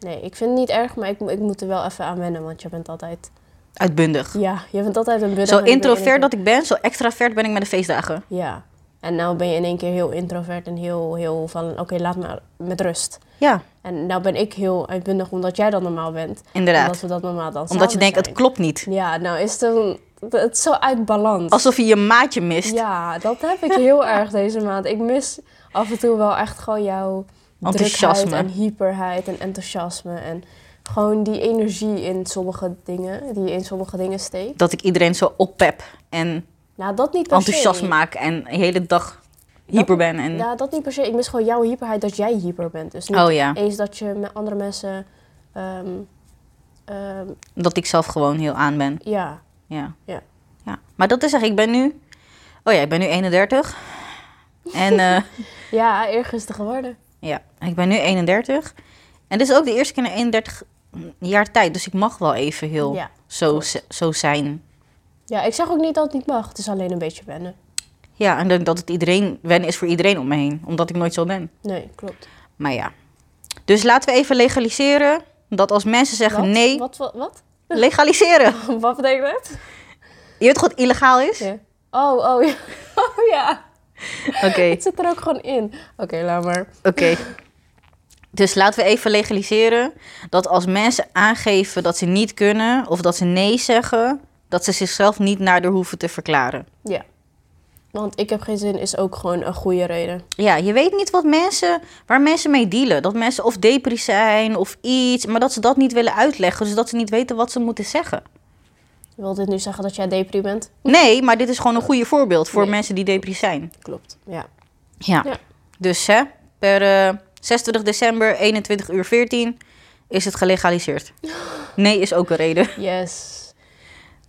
Nee, ik vind het niet erg, maar ik, mo- ik moet er wel even aan wennen, want je bent altijd... Uitbundig. Ja, je bent altijd een buddy. Zo introvert dat ik ben, zo extravert ben ik met de feestdagen. Ja. En nou ben je in één keer heel introvert en heel, heel van oké, laat me met rust. Ja, En nou ben ik heel uitbundig omdat jij dan normaal bent. inderdaad. Omdat we dat normaal dan Omdat je samen denkt, het zijn. klopt niet. Ja, nou is het, een- het is zo uit balans. Alsof je je maatje mist. Ja, dat heb ik [laughs] heel erg deze maand. Ik mis af en toe wel echt gewoon jouw Enthousiasme. drukheid en hyperheid en enthousiasme. En gewoon die energie in sommige dingen, die je in sommige dingen steekt. Dat ik iedereen zo oppep en Nou, dat niet per enthousiast se. maak en de hele dag hyper ben. En... Ja, dat niet per se. Ik mis gewoon jouw hyperheid dat jij hyper bent. Dus niet Oh ja, eens dat je met andere mensen... ehm, ehm, dat ik zelf gewoon heel aan ben. ja, Ja. Ja. ja. Maar dat is echt, ik ben nu... Oh ja, ik ben nu 31. En eh, [laughs] ja, eergisteren geworden. ja, ik ben nu 31. En dit is ook de eerste keer in 31 jaar tijd. Dus ik mag wel even heel Ja. zo, klopt. zo zijn. ja, ik zeg ook niet dat het niet mag. Het is alleen een beetje wennen. Ja, en dat- dat het iedereen wennen is voor iedereen om me heen. Omdat ik nooit zo ben. Nee, klopt. Maar ja. Dus laten we even legaliseren dat als mensen zeggen Wat? nee, Wat, wat, wat? [laughs] legaliseren. Wat betekent dat? Je weet goed, illegaal is? Ja. Oh, oh ja. [laughs] Oh ja. Oké, Het zit er ook gewoon in. Oké, laat maar. oké. Dus laten we even legaliseren dat als mensen aangeven dat ze niet kunnen of dat ze nee zeggen, dat ze zichzelf niet nader hoeven te verklaren. Ja. Want ik heb geen zin is ook gewoon een goede reden. Ja, je weet niet wat mensen, waar mensen mee dealen. Dat mensen of depri zijn of iets, maar dat ze dat niet willen uitleggen, dus dat ze niet weten wat ze moeten zeggen. Wil dit nu zeggen dat jij depri bent? Nee, maar dit is gewoon een goede voorbeeld voor Nee. mensen die depri zijn. Klopt. Ja. Ja. Ja. Dus hè, per eh, 26 december 21 uur 14 is het gelegaliseerd. Nee is ook een reden. Yes.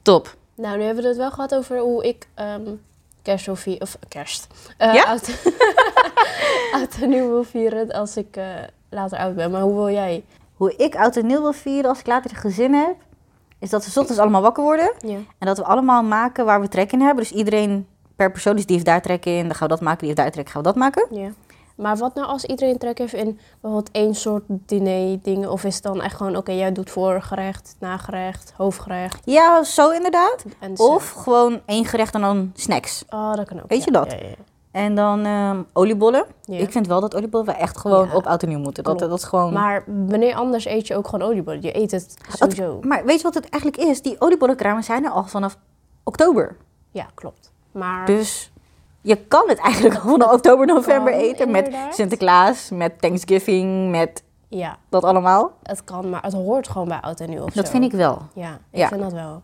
Top. Nou, nu hebben we het wel gehad over hoe ik ehm kerst wil vieren. Of kerst. Eh, Ja? Oud, [laughs] oud en nieuw wil vieren als ik eh, later oud ben. Maar hoe wil jij? Hoe ik oud en nieuw wil vieren als ik later een gezin heb, is dat we 's ochtends allemaal wakker worden Ja. en dat we allemaal maken waar we trek in hebben. Dus iedereen per persoon, dus die heeft daar trek in, dan gaan we dat maken, die heeft daar trek, in, gaan we dat maken. Ja. Maar wat nou als iedereen trek heeft in bijvoorbeeld één soort diner dingen? Of is het dan echt gewoon, oké, jij doet voorgerecht, nagerecht, hoofdgerecht Ja, zo inderdaad. en dessert? Of gewoon één gerecht en dan snacks. Oh, dat kan ook. Weet ja, je dat? ja, ja, ja. En dan ehm, oliebollen. Ja. Ik vind wel dat oliebollen we echt gewoon Ja. op oud en nieuw moeten. Dat, Klopt. dat is gewoon... Maar wanneer anders eet je ook gewoon oliebollen? Je eet het Wat- sowieso. maar weet je wat het eigenlijk is? Die oliebollenkramen zijn er al vanaf oktober. Ja, klopt. Maar Dus je kan het eigenlijk al vanaf oktober, november kan, eten. Met inderdaad. Sinterklaas, met Thanksgiving, met ja, dat allemaal. het kan, maar het hoort gewoon bij oud en nieuw of Dat zo. vind ik wel. Ja, ik Ja. vind dat wel.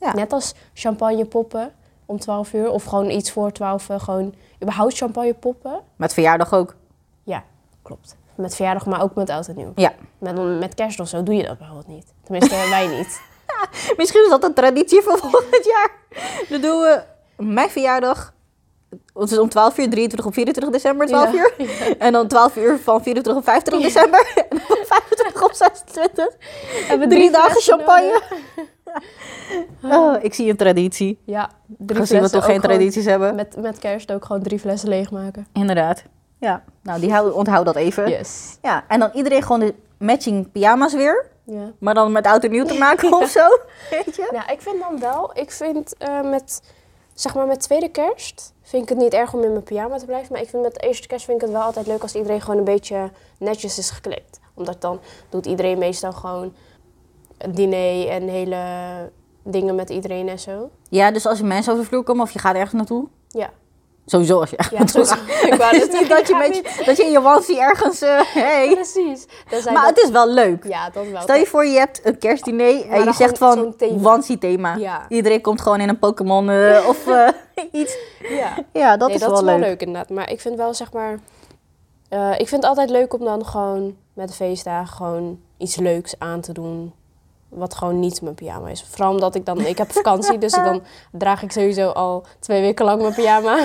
Ja. Net als champagne poppen om 12 uur of gewoon iets voor 12 uur. Gewoon überhaupt champagne poppen. Met verjaardag ook. Ja, klopt. Met verjaardag, maar ook met oud en nieuw. Ja. Met, met kerst of zo doe je dat bijvoorbeeld niet. [laughs] Tenminste, wij niet. [laughs] Misschien is dat een traditie voor volgend jaar. Dan doen we mijn verjaardag. Het is om 12 uur, 23 op 24 december, [laughs] 12 Ja. uur. En dan 12 uur van 24 op 25 december. [laughs] En dan van 25 op 26. Hebben Drie dagen flessen champagne. nodig? [laughs] Oh, ik zie een traditie. Ja, drie Gezien we flessen toch geen ook gewoon- tradities hebben. Met, met kerst ook gewoon drie flessen leegmaken. Inderdaad. Ja, nou die hou, onthoud dat even. Yes. Ja, en dan iedereen gewoon de matching pyjama's weer. Ja. Maar dan met oud en nieuw te [laughs] maken of zo. Weet je? Nou, ik vind dan wel, ik vind eh, met, zeg maar met tweede kerst, vind ik het niet erg om in mijn pyjama te blijven. Maar ik vind met de eerste kerst vind ik het wel altijd leuk als iedereen gewoon een beetje netjes is gekleed. Omdat dan doet iedereen meestal gewoon een diner en hele dingen met iedereen en zo. Ja, dus als er mensen over de vloer komen of je gaat ergens naartoe. Ja, Sowieso als je ergens [laughs] ja naartoe sowieso. gaat. ik wou [laughs] Het is net zeggen, niet dat [laughs] je, ik ga met, je- dat je in je wansie ergens... eh, [laughs] hey. Precies. Dan zijn Maar dat- het is wel leuk. Ja, dat wel. Stel je voor, je hebt een kerstdiner Maar en je dan zegt gewoon van zo'n thema. wansie thema. Ja. Iedereen komt gewoon in een Pokémon eh, of eh, [laughs] iets. Ja. Ja, dat Nee, is wel leuk. inderdaad. Maar ik vind wel, zeg maar... eh, ik vind het altijd leuk om dan gewoon met de feestdagen gewoon iets leuks aan te doen. Wat gewoon niet mijn pyjama is. Vooral omdat ik dan... Ik heb vakantie, dus [laughs] dan draag ik sowieso al twee weken lang mijn pyjama.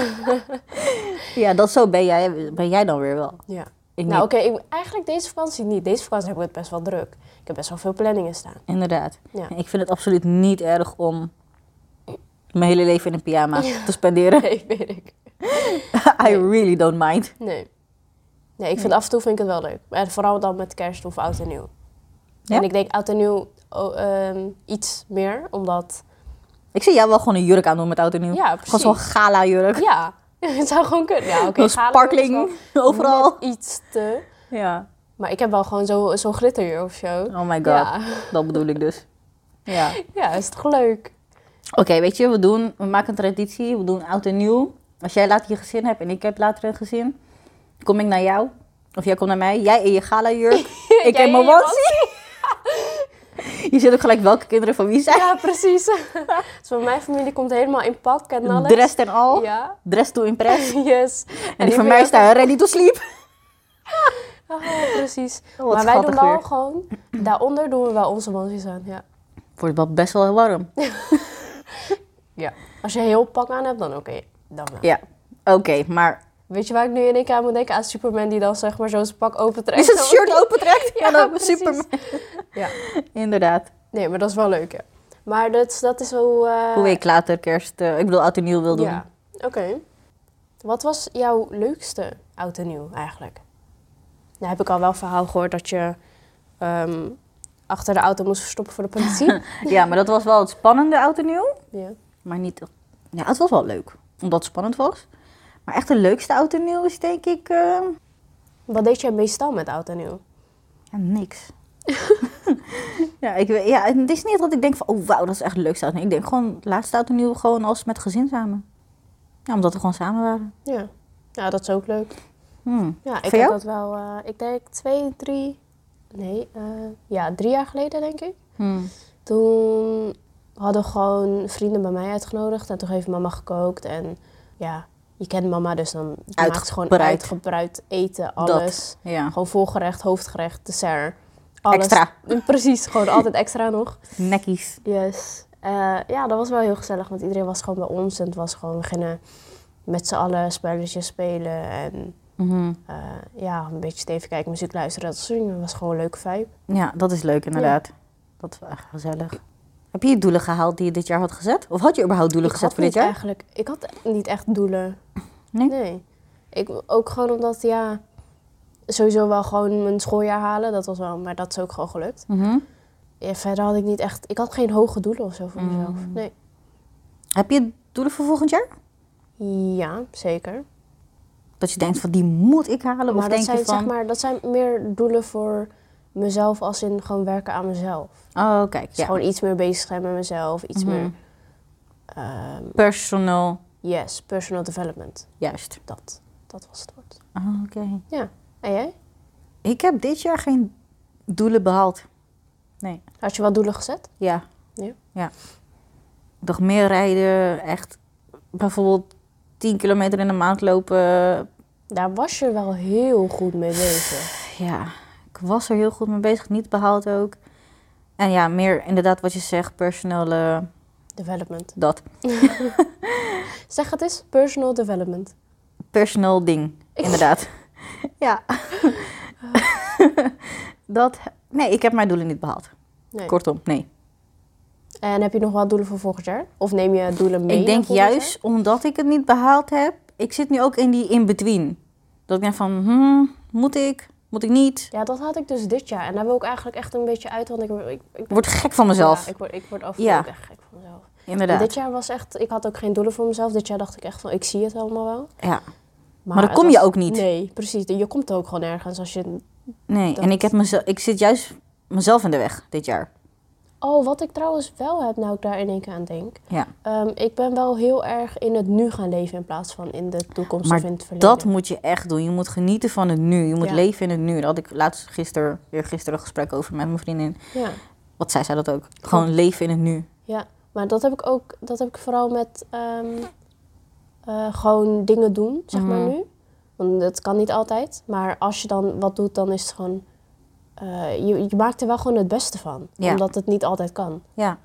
Ja, dat zo ben jij, ben jij dan weer wel. Ja. Ik Nou niet. oké, ik- eigenlijk deze vakantie niet. Deze vakantie heb ik het best wel druk. Ik heb best wel veel planningen [laughs] staan. Inderdaad. Ja. Ik vind het absoluut niet erg om mijn hele leven in een pyjama te spenderen. Nee, weet ik. [laughs] I really don't mind. Nee. Nee, ik vind af en toe vind ik het wel leuk. En vooral dan met kerst of oud en nieuw. Ja? En ik denk oud en nieuw oh, ehm, iets meer, omdat Ik zie jou wel gewoon een jurk aan doen met oud en nieuw. Ja, Gewoon zo'n precies. gala jurk. Ja, [laughs] het zou gewoon kunnen. Ja, oké. Een gala jurk is sparkling wel [laughs] overal. net iets te. Ja. Maar ik heb wel gewoon zo- zo'n glitterjurk of zo. Oh my god. Ja. Dat bedoel ik dus. Ja. [laughs] ja, is toch leuk? Oké, weet je, we, doen, we maken een traditie. We doen oud en nieuw. Als jij later je gezin hebt en ik heb later een gezin, kom ik naar jou. Of jij komt naar mij. Jij in je gala jurk. [laughs] ik Jij in mijn in je wansie. [laughs] je zit ook gelijk welke kinderen van wie zijn. Ja, precies. [laughs] dus bij mijn familie komt helemaal in pak en alles. Dressed en al. Ja. [laughs] Dress to impress. Yes. En die van mij staan ready to sleep. Oh, precies. Oh, wat maar wij doen schattig wel weer. gewoon... Daaronder doen we wel onze mansies aan, ja. Wordt wel best wel heel warm. Ja. Als je een heel pak aan hebt, dan oké. Dan wel. Ja, oké, maar Weet je waar ik nu in één keer aan moet denken? Aan Superman die dan zeg maar zo zijn pak opentrekt. is het shirt Oh, opentrekt? [laughs] Ja, en dan precies. Superman. [laughs] Ja. Inderdaad. Nee, maar dat is wel leuk, ja. Maar dat, is- dat is hoe... eh, Hoe ik later kerst, eh, ik bedoel oud en nieuw wil doen. Ja, oké. Wat was jouw leukste oud en nieuw eigenlijk? Nou heb ik al wel een verhaal gehoord dat je ehm, achter de auto moest verstoppen voor de politie. [laughs] [laughs] Ja, maar dat was wel het spannende oud en nieuw. ja. Maar niet, ja, het was wel leuk, omdat het spannend was. Maar echt de leukste oud en nieuw is denk ik, eh, Wat deed jij meestal met oud en nieuw? ja, niks. [laughs] [laughs] ja, ik, weet- ja, het is niet dat ik denk van, oh wauw, dat is echt het leukste oud en nieuw. Ik denk gewoon, het laatste oud en nieuw gewoon als met gezin samen. Ja, omdat we gewoon samen waren. Ja. ja, dat is ook leuk. Hmm. Ja, ik Voor heb jou? dat wel, eh, ik denk twee, drie, nee, eh, ja, drie jaar geleden denk ik. Hmm. Toen hadden gewoon vrienden bij mij uitgenodigd en toen heeft mama gekookt en ja, je kent mama dus dan je maakt gewoon Uitgebreid. uitgebreid eten, alles. Ja. Gewoon voorgerecht, hoofdgerecht, dessert. Alles. Extra. [laughs] Precies, gewoon altijd extra nog. Nekkies. Yes. Eh, ja, dat was wel heel gezellig, want iedereen was gewoon bij ons en het was gewoon beginnen met z'n allen spelletjes spelen en Hmm. eh, ja, een beetje tv kijken, muziek luisteren, dat soort dingen. Dat was gewoon een leuke vibe. Ja, dat is leuk inderdaad. Dat is wel echt gezellig. Heb je je doelen gehaald die je dit jaar had gezet? Of had je überhaupt doelen Ik gezet had voor dit niet jaar? Eigenlijk, ik had niet echt doelen. Nee? Ik, ook gewoon omdat, ja, sowieso wel gewoon mijn schooljaar halen, dat was wel, maar dat is ook gewoon gelukt. Mhm. Ja, verder had ik niet echt, ik had geen hoge doelen of zo voor Mm. mezelf. Nee. Heb je doelen voor volgend jaar? Ja, zeker. Dat je denkt van die moet ik halen. of Maar dat, denk zijn, je van. zeg maar dat zijn meer doelen voor mezelf als in gewoon werken aan mezelf. Oh, kijk. Dus Ja. gewoon iets meer bezig zijn met mezelf. Iets Mhm. meer, ehm, Personal. yes, personal development. Juist. Dat, dat was het woord. Oh, Oké. En jij? Ik heb dit jaar geen doelen behaald. Had je wel doelen gezet? Ja. Ja? Nog meer rijden. Echt bijvoorbeeld 10 kilometer in de maand lopen. Daar was je wel heel goed mee bezig. Ja, ik was er heel goed mee bezig, niet behaald ook. En ja, meer inderdaad wat je zegt, personal, eh, Development. dat Zeg het eens, personal development. personal ding, [laughs] inderdaad. ja. [laughs] dat, nee, ik heb mijn doelen niet behaald. Nee. Kortom, nee. En heb je nog wel doelen voor volgend jaar? Of neem je doelen mee? ik denk naar volgend juist omdat ik het niet behaald heb, ik zit nu ook in die in-between. Dat ik denk van, hmm, moet ik, moet ik niet? jaar? Ja, dat had ik dus dit jaar. En daar wil ik eigenlijk echt een beetje uit, want ik, word- ik, ik Ik word gek van mezelf, Ja, ik word, ik word af en Ja. toe ook echt gek van mezelf. inderdaad. Dit jaar was echt, ik had ook geen doelen voor mezelf. Dit jaar dacht ik echt van, ik zie het allemaal wel. Ja, Maar dan het kom je was- ook niet. Nee, precies. Je komt ook gewoon ergens als je... nee. En dat- ik, heb mezelf, ik zit juist mezelf in de weg dit jaar. Oh, wat ik trouwens wel heb, nou ik daar in één keer aan denk. Ja. Ehm, ik ben wel heel erg in het nu gaan leven in plaats van in de toekomst Maar of in het verleden. Dat moet je echt doen. Je moet genieten van het nu. Je moet Ja. leven in het nu. Daar had ik laatst gisteren, weer gisteren een gesprek over met mijn vriendin. Ja. Wat zij zei dat ook. Gewoon leven in het nu. Ja, maar dat heb ik ook, dat heb ik vooral met ehm, eh, gewoon dingen doen, zeg maar Mhm. nu. Want dat kan niet altijd. Maar als je dan wat doet, dan is het gewoon. eh, je, je maakt er wel gewoon het beste van. Ja. Omdat het niet altijd kan. Ja.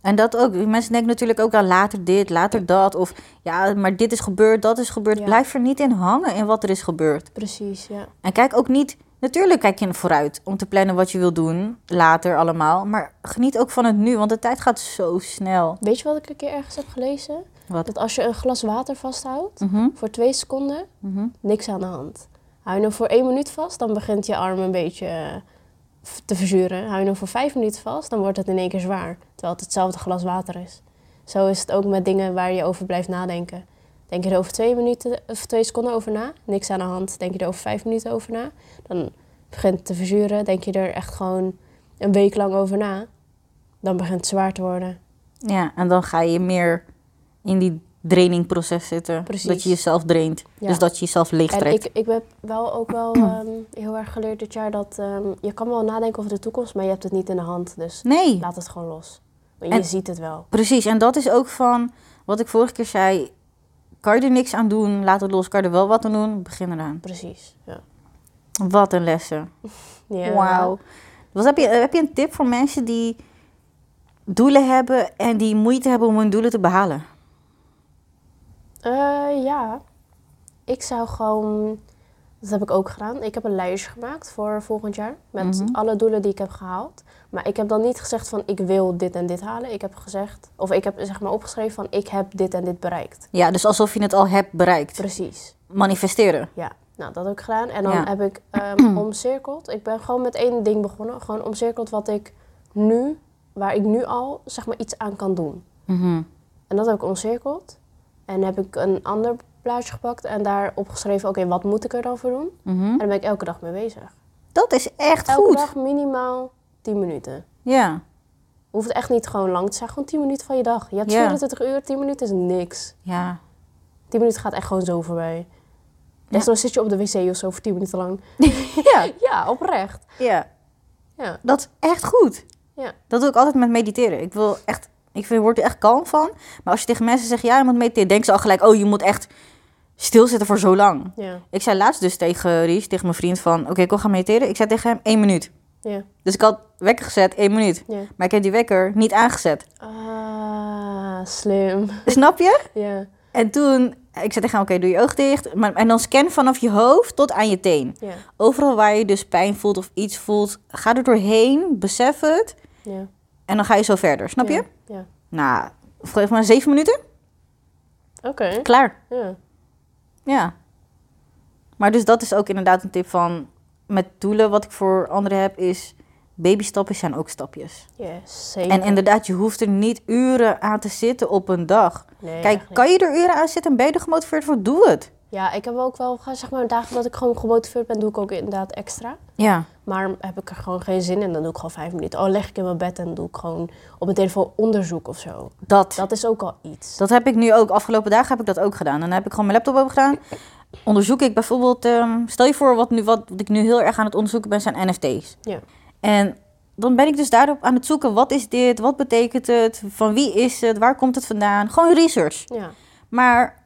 En dat ook. Mensen denken natuurlijk ook aan later dit, later dat. Of ja, maar dit is gebeurd, dat is gebeurd. Ja. Blijf er niet in hangen in wat er is gebeurd. Precies, ja. En kijk ook niet... Natuurlijk kijk je vooruit om te plannen wat je wil doen. Later allemaal. Maar geniet ook van het nu, want de tijd gaat zo snel. Weet je wat ik een keer ergens heb gelezen? Wat? Dat als je een glas water vasthoudt Mhm, voor twee seconden, mhm. niks aan de hand. Hou je hem voor één minuut vast, dan begint je arm een beetje eh, f- te verzuren. Hou je hem voor vijf minuten vast, dan wordt het in één keer zwaar. Terwijl het hetzelfde glas water is. Zo is het ook met dingen waar je over blijft nadenken. Denk je er over twee, minuten, of twee seconden over na, niks aan de hand. Denk je er over vijf minuten over na, dan begint het te verzuren. Denk je er echt gewoon een week lang over na, dan begint het zwaar te worden. Ja, en dan ga je meer in die trainingproces zitten. Precies. Dat je jezelf draint. Ja. Dus dat je jezelf leeg En trekt. ik, ik heb wel ook [clears throat] wel ehm, heel erg geleerd dit jaar dat ehm, je kan wel nadenken over de toekomst, maar je hebt het niet in de hand. Dus Nee, laat het gewoon los. Want En- je ziet het wel. precies. En dat is ook van wat ik vorige keer zei. Kan je er niks aan doen, laat het los. Kan je er wel wat aan doen, begin eraan. Precies. Ja. Wat een lessen. Ja. Wauw. Wat heb je, heb je een tip voor mensen die doelen hebben en die moeite hebben om hun doelen te behalen? Eh, ja. Ik zou gewoon... Dat heb ik ook gedaan. Ik heb een lijstje gemaakt voor volgend jaar. Met Mhm. alle doelen die ik heb gehaald. Maar ik heb dan niet gezegd van ik wil dit en dit halen. Ik heb gezegd... Of ik heb zeg maar opgeschreven van ik heb dit en dit bereikt. Ja, dus alsof je het al hebt bereikt. Precies. Manifesteren. Ja, nou dat heb ik gedaan. En dan Ja. heb ik [clears throat] ehm, omcirkeld. Ik ben gewoon met één ding begonnen. Gewoon omcirkeld wat ik nu, waar ik nu al zeg maar iets aan kan doen. Mhm. En dat heb ik omcirkeld. En heb ik een ander blaadje gepakt en daar opgeschreven, oké, wat moet ik er dan voor doen? Mhm. En daar ben ik elke dag mee bezig. Dat is echt Elke goed. dag minimaal 10 minuten. Ja. Hoeft echt niet gewoon lang te zijn, gewoon 10 minuten van je dag. Je hebt Ja. 24 uur, 10 minuten is niks. Ja. 10 minuten gaat echt gewoon zo voorbij. Desnoods zit je op de wc of zo voor 10 minuten lang. [laughs] Ja. Ja, oprecht. Ja. Ja. Dat is echt goed. Ja. Dat doe ik altijd met mediteren. Ik wil echt, ik vind, word er echt kalm van. Maar als je tegen mensen zegt, ja, je moet mediteren, denken ze al gelijk, oh, je moet echt stilzitten voor zo lang. Ja, Ik zei laatst dus tegen Ries, tegen mijn vriend, van, oké, ik wil gaan mediteren. Ik zei tegen hem, één minuut. ja, Dus ik had wekker gezet, één minuut. ja. Maar ik heb die wekker niet [laughs] aangezet. Ah, slim. Snap je? Ja, En toen, ik zei tegen hem, oké, doe je oog dicht. Maar, en dan scan vanaf je hoofd tot aan je teen. ja, Overal waar je dus pijn voelt of iets voelt, ga er doorheen, besef het. ja. En dan ga je zo verder, snap je? Ja, Ja. Nou, geef maar zeven minuten. Oké, Hm? Klaar. ja. Ja. Maar dus dat is ook inderdaad een tip van... Met doelen wat ik voor anderen heb is... Babystapjes zijn ook stapjes. Yes, zeker. En inderdaad, je hoeft er niet uren aan te zitten op een dag. Nee, Kijk, echt niet. kan je er uren aan zitten en ben je er gemotiveerd voor? Doe het. Ja, ik heb ook wel, ga- zeg maar, dagen dat ik gewoon gemotiveerd ben, doe ik ook inderdaad extra. Ja. Maar heb ik er gewoon geen zin in, dan doe ik gewoon vijf minuten. Oh, leg ik in mijn bed en doe ik gewoon op mijn telefoon onderzoek of zo. Dat. Dat is ook al iets. Dat heb ik nu ook. Afgelopen dagen heb ik dat ook gedaan. Dan heb ik gewoon mijn laptop open gedaan. Onderzoek ik bijvoorbeeld... ehm, stel je voor, wat, nu, wat ik nu heel erg aan het onderzoeken ben, zijn NFT's. Ja. En dan ben ik dus daarop aan het zoeken. Wat is dit? Wat betekent het? Van wie is het? Waar komt het vandaan? Gewoon research. Ja, Maar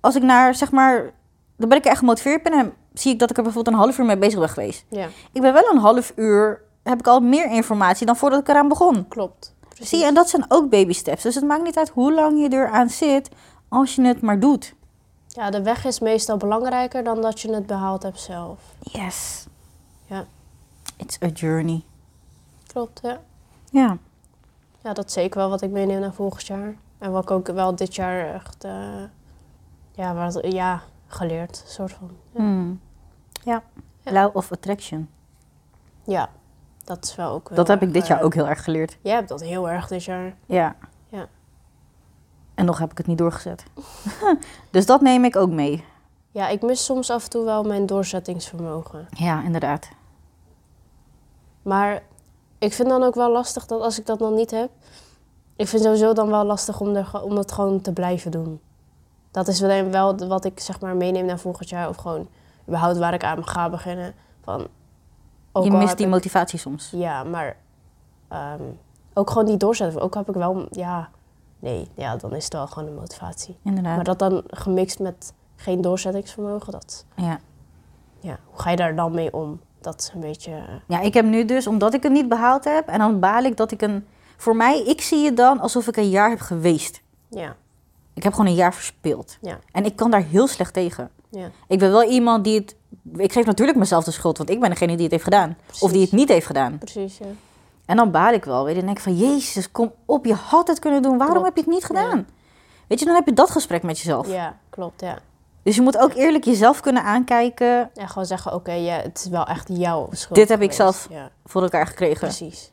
als ik naar, zeg maar... Dan ben ik er echt gemotiveerd ben. En zie ik dat ik er bijvoorbeeld een half uur mee bezig ben geweest. ja Ik ben wel een half uur... Heb ik al meer informatie dan voordat ik eraan begon. klopt. Precies. Zie je, en dat zijn ook baby steps. Dus het maakt niet uit hoe lang je eraan zit, als je het maar doet. Ja, de weg is meestal belangrijker dan dat je het behaald hebt zelf. Yes. Ja. It's a journey. Klopt, ja. Ja. Ja, dat is zeker wel wat ik meeneem naar volgend jaar. En wat ik ook wel dit jaar echt, eh, ja, wat, ja, geleerd, soort van. Hmm. Ja. Ja. Law of attraction. Ja, dat is wel ook heel dat heb ik erg, dit jaar eh, ook heel erg geleerd. Jij hebt dat heel erg dit jaar. Ja. Ja. En nog heb ik het niet doorgezet. [laughs] dus dat neem ik ook mee. Ja, ik mis soms af en toe wel mijn doorzettingsvermogen. Ja, inderdaad. Maar ik vind dan ook wel lastig dat als ik dat dan niet heb, ik vind sowieso dan wel lastig om, er, ge- om dat gewoon te blijven doen. Dat is wel- wel de- wat ik zeg maar meeneem naar volgend jaar of gewoon überhaupt waar ik aan ga beginnen. Van, ook je al mist heb die ik- motivatie soms. Ja, maar ehm, ook gewoon die doorzetten. Ook heb ik wel, ja, nee, ja, dan is het wel gewoon een motivatie. Inderdaad. Maar dat dan gemixt met geen doorzettingsvermogen, dat, Ja. ja, hoe ga je daar dan mee om? Dat is een beetje, eh, Ja, ik heb nu dus, omdat ik het niet behaald heb, en dan baal ik dat ik een... Voor mij, ik zie het dan alsof ik een jaar heb geweest. ja, Ik heb gewoon een jaar verspild. ja, En ik kan daar heel slecht tegen. ja, Ik ben wel iemand die het. Ik geef natuurlijk mezelf de schuld, want ik ben degene die het heeft gedaan. Of die Precies. het niet heeft gedaan. precies, ja. En dan baal ik wel weer. Dan denk ik van, Jezus, kom op, je had het kunnen doen. Waarom Klopt. heb je het niet gedaan? Weet je, dan heb je dat gesprek met jezelf. Ja, klopt, ja. Dus je moet ook eerlijk jezelf kunnen aankijken. En gewoon zeggen, oké, ja, het is wel echt jouw schuld Dit heb ik geweest. zelf. Ja, Voor elkaar gekregen. precies.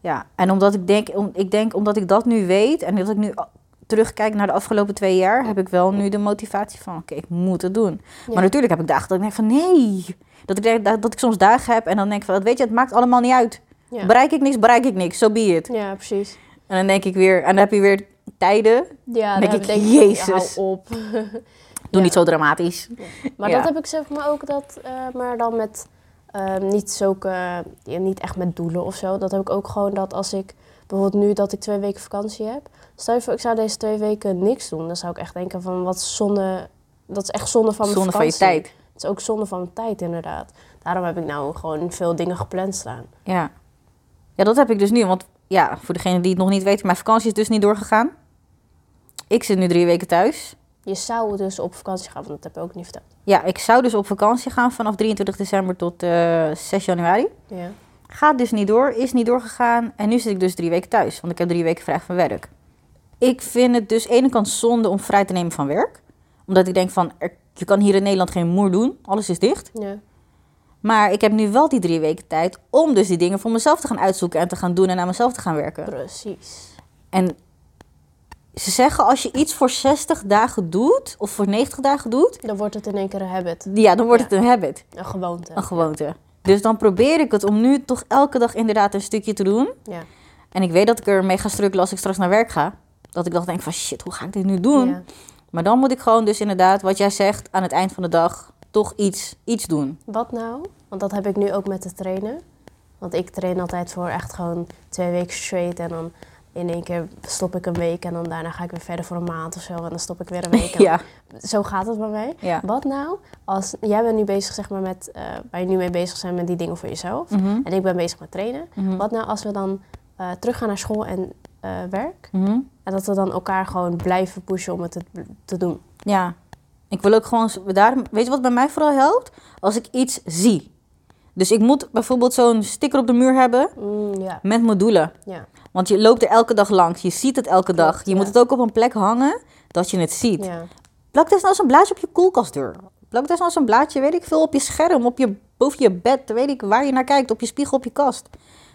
Ja. En omdat ik denk, om, ik denk, omdat ik dat nu weet. En dat ik nu a- terugkijk naar de afgelopen twee jaar. Heb ik wel nu de motivatie van, oké, ik moet het doen. Ja. Maar natuurlijk heb ik dagen dat ik denk van, nee. Dat ik, denk, dat, dat ik soms dagen heb en dan denk ik van, weet je, het maakt allemaal niet uit. Ja. Bereik ik niks, bereik ik niks. Zo be it. ja, precies. En dan denk ik weer, en dan heb je weer tijden. Ja, Denk dan ik, denk ik, Jezus. hou op. Doe niet zo dramatisch. Maar Ja. dat heb ik zeg maar ook dat, eh, maar dan met eh, niet zulke, ja, niet echt met doelen of zo. Dat heb ik ook gewoon dat als ik bijvoorbeeld nu dat ik twee weken vakantie heb. Stel je voor, ik zou deze twee weken niks doen. Dan zou ik echt denken van wat zonde, dat is echt zonde van mijn Zonde van je vakantie. tijd. Het is ook zonde van mijn tijd inderdaad. Daarom heb ik nou gewoon veel dingen gepland staan. Ja. ja, dat heb ik dus nu. Want ja, voor degenen die het nog niet weten, mijn vakantie is dus niet doorgegaan. Ik zit nu drie weken thuis. Je zou dus op vakantie gaan, want dat heb ik ook niet verteld. Ja, ik zou dus op vakantie gaan vanaf 23 december tot eh 6 januari. Ja, Gaat dus niet door, is niet doorgegaan. En nu zit ik dus drie weken thuis, want ik heb drie weken vrij van werk. Ik vind het dus ene kant zonde om vrij te nemen van werk. Omdat ik denk van, er- je kan hier in Nederland geen moer doen. Alles is dicht. ja, Maar ik heb nu wel die drie weken tijd om dus die dingen voor mezelf te gaan uitzoeken en te gaan doen en aan mezelf te gaan werken. precies. En ze zeggen als je iets voor 60 dagen doet of voor 90 dagen doet, Dan wordt het in één keer een habit, ja, dan wordt Ja. het een habit. een gewoonte. Een gewoonte. Dus dan probeer ik het om nu toch elke dag inderdaad een stukje te doen. Ja. En ik weet dat ik er mee ga strukkelen als ik straks naar werk ga. Dat ik dan denk van shit, hoe ga ik dit nu doen? Ja. Maar dan moet ik gewoon dus inderdaad, wat jij zegt, aan het eind van de dag toch iets, iets doen. Wat nou? Want dat heb ik nu ook met het trainen. Want ik train altijd voor echt gewoon twee weken straight en dan in één keer stop ik een week en dan daarna ga ik weer verder voor een maand of zo en dan stop ik weer een week. en [laughs] Ja, Zo gaat het bij mij. ja. Wat nou als jij bent nu bezig zeg maar met eh, waar je nu mee bezig bent met die dingen voor jezelf Mhm, en ik ben bezig met trainen. mhm, Wat nou als we dan eh teruggaan naar school en eh, werk mhm. en dat we dan elkaar gewoon blijven pushen om het te, te doen? Ja, ik wil ook gewoon. Daarom, weet je wat bij mij vooral helpt? Als ik iets zie. Dus ik moet bijvoorbeeld zo'n sticker op de muur hebben Mm, ja, met mijn doelen. ja, Want je loopt er elke dag langs. Je ziet het elke dag. Je ja. moet het ook op een plek hangen dat je het ziet. ja, Plak desnoods een blaadje op je koelkastdeur. Plak desnoods een blaadje, weet ik veel, op je scherm, op je, boven je bed. Weet ik waar je naar kijkt, op je spiegel, op je kast.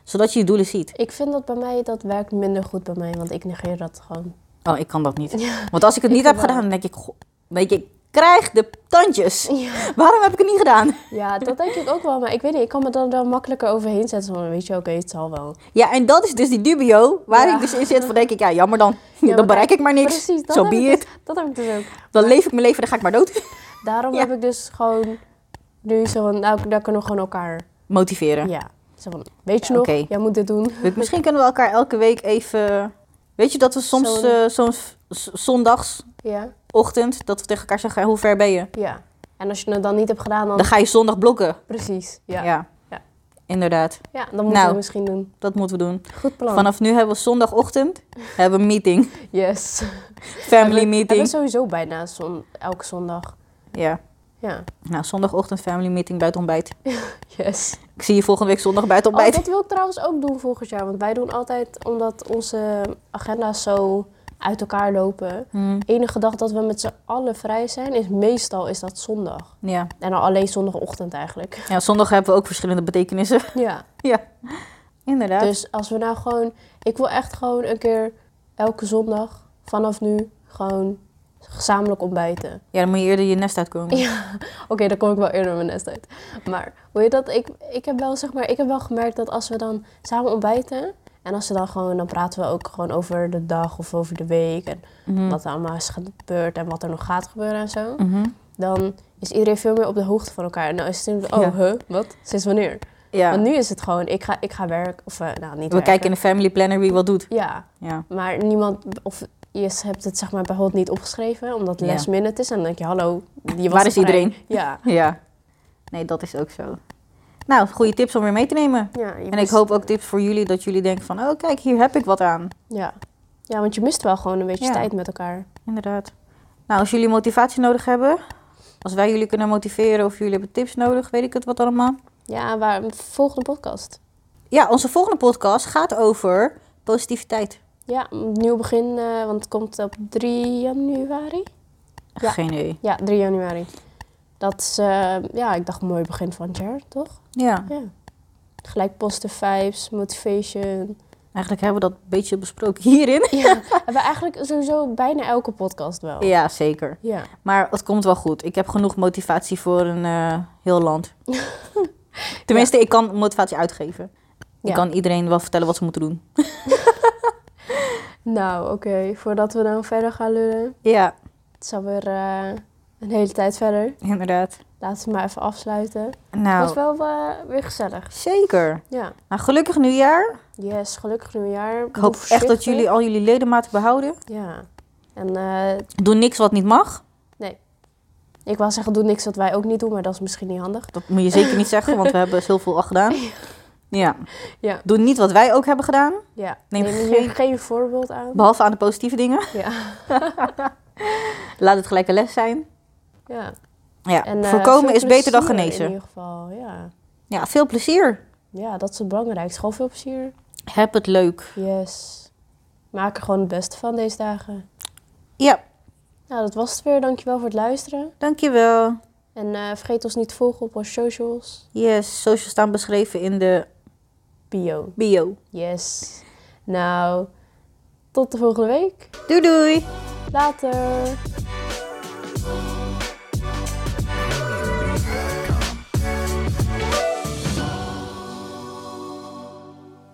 Zodat je je doelen ziet. Ik vind dat bij mij, dat werkt minder goed bij mij, want ik negeer dat gewoon. Oh, ik kan dat niet. Want als ik het niet ik heb wel. gedaan, dan denk ik, goh, weet je, ik Krijg de tandjes. Ja. Waarom heb ik het niet gedaan? ja, dat denk ik ook wel. Maar ik weet niet, ik kan me er dan makkelijker overheen zetten. Van, weet je, oké, het zal wel. Ja, en dat is dus die dubio waar Ja. ik dus in zit. Van denk ik, ja, jammer dan. Ja, [laughs] dan maar bereik ik maar niks. Precies, dat, Zo heb be ik it. dus- dat heb ik dus ook. Dan leef ik mijn leven, dan ga ik maar dood. [laughs] Daarom Ja. heb ik dus gewoon nu zo van, nou, daar kunnen we gewoon elkaar. Motiveren. Ja. Zo van, weet je Ja, nog, oké. jij moet dit doen. Dus misschien kunnen we elkaar elke week even... Weet je dat we soms Zo'n- eh, soms z- zondagsochtend... Ja, dat we tegen elkaar zeggen, hoe ver ben je? ja. En als je het dan niet hebt gedaan, dan... Dan ga je zondag blokken. Precies, ja. Ja, Ja. Ja. Inderdaad. dan moeten we Nou. het misschien doen. Dat moeten we doen. Goed plan. Vanaf nu hebben we zondagochtend hebben we een [laughs] meeting. Yes. Family We hebben meeting. sowieso bijna zon, elke zondag. Ja. Ja. Nou, zondagochtend family meeting bij het ontbijt. Yes. Ik zie je volgende week zondag bij het Oh, ontbijt. dat wil ik trouwens ook doen volgend jaar. Want wij doen altijd, omdat onze agenda's zo uit elkaar lopen. Hmm, enige dag dat we met z'n allen vrij zijn, is meestal is dat zondag. Ja. En dan alleen zondagochtend eigenlijk. ja, zondag hebben we ook verschillende betekenissen. Ja. ja. Inderdaad. [laughs] Dus als we nou gewoon... Ik wil echt gewoon een keer elke zondag vanaf nu gewoon gezamenlijk ontbijten. Ja, dan moet je eerder je nest uitkomen. Oké, dan kom ik wel eerder mijn nest uit. Maar hoe je dat? Ik, ik, heb wel, zeg maar, ik heb wel gemerkt dat als we dan samen ontbijten... En als we dan gewoon, dan praten we ook gewoon over de dag of over de week. En Mhm. wat er allemaal is gebeurd en wat er nog gaat gebeuren en zo. Mhm. dan is iedereen veel meer op de hoogte van elkaar. En dan is het natuurlijk, Ja. oh, huh, wat? Sinds wanneer? Ja. Want nu is het gewoon, ik ga, ik ga werken, of eh, nou, niet We kijken in werken. de family planner wie wat doet. Ja, Ja. maar niemand, of je hebt het zeg maar bijvoorbeeld niet opgeschreven, omdat het Ja. last minute is. En dan denk je, hallo, die was Waar is vrij. iedereen? Ja. Ja. Nee, dat is ook zo. Nou, goede tips om weer mee te nemen. ja je En ik mist- hoop ook tips voor jullie dat jullie denken van, oh kijk, hier heb ik wat aan. Ja. ja, want je mist wel gewoon een beetje Ja. tijd met elkaar. Inderdaad. Nou, als jullie motivatie nodig hebben, als wij jullie kunnen motiveren of jullie hebben tips nodig, weet ik het wat allemaal. Ja, waar, volgende podcast. Ja, onze volgende podcast gaat over positiviteit. Ja, nieuw begin, eh, want het komt op 3 januari. Ja. Geen idee. Ja, 3 januari. Dat is, eh, ja, ik dacht een mooi begin van het jaar, toch? Ja, Ja. Gelijk positive vibes, motivation. [laughs] eigenlijk hebben we dat een beetje besproken hierin. Ja, hebben we eigenlijk sowieso bijna elke podcast wel. Ja, zeker. Ja. Maar het komt wel goed. Ik heb genoeg motivatie voor een eh, heel [laughs] land. Tenminste, ik kan motivatie uitgeven. Ik Ja. kan iedereen wel vertellen wat ze moeten doen. Nou, oké. Voordat we dan verder gaan lullen. Ja, Het is alweer eh, een hele tijd verder. inderdaad. Laten we maar even afsluiten. Het was Nou, wel eh, weer gezellig. zeker. Ja. Nou, gelukkig nieuwjaar. Yes, gelukkig nieuwjaar. Ik hoop echt dat jullie al jullie ledematen behouden. Ja. En eh, Doe niks wat niet mag. ik wou zeggen, doe niks wat wij ook niet doen, maar dat is misschien niet handig. Dat moet je zeker niet zeggen, [laughs] want we hebben dus heel veel al gedaan. Ja. Ja. Doe niet wat wij ook hebben gedaan, Ja. Neem Neem, geen- hier geen voorbeeld aan. behalve aan de positieve [laughs] dingen. Ja. Laat het gelijk een les zijn. ja. Ja. En, eh, Voorkomen veel is beter dan plezier genezen. In ieder geval, ja. Ja, veel plezier. Ja, dat is het belangrijkste. Gewoon veel plezier. Heb het leuk. Yes. Maak er gewoon het beste van deze dagen. Ja, Nou, dat was het weer. Dankjewel voor het luisteren. dankjewel. En eh, vergeet ons niet te volgen op onze socials. Yes, socials staan beschreven in de Bio. bio. Yes. Nou, tot de volgende week. Doei doei! Later.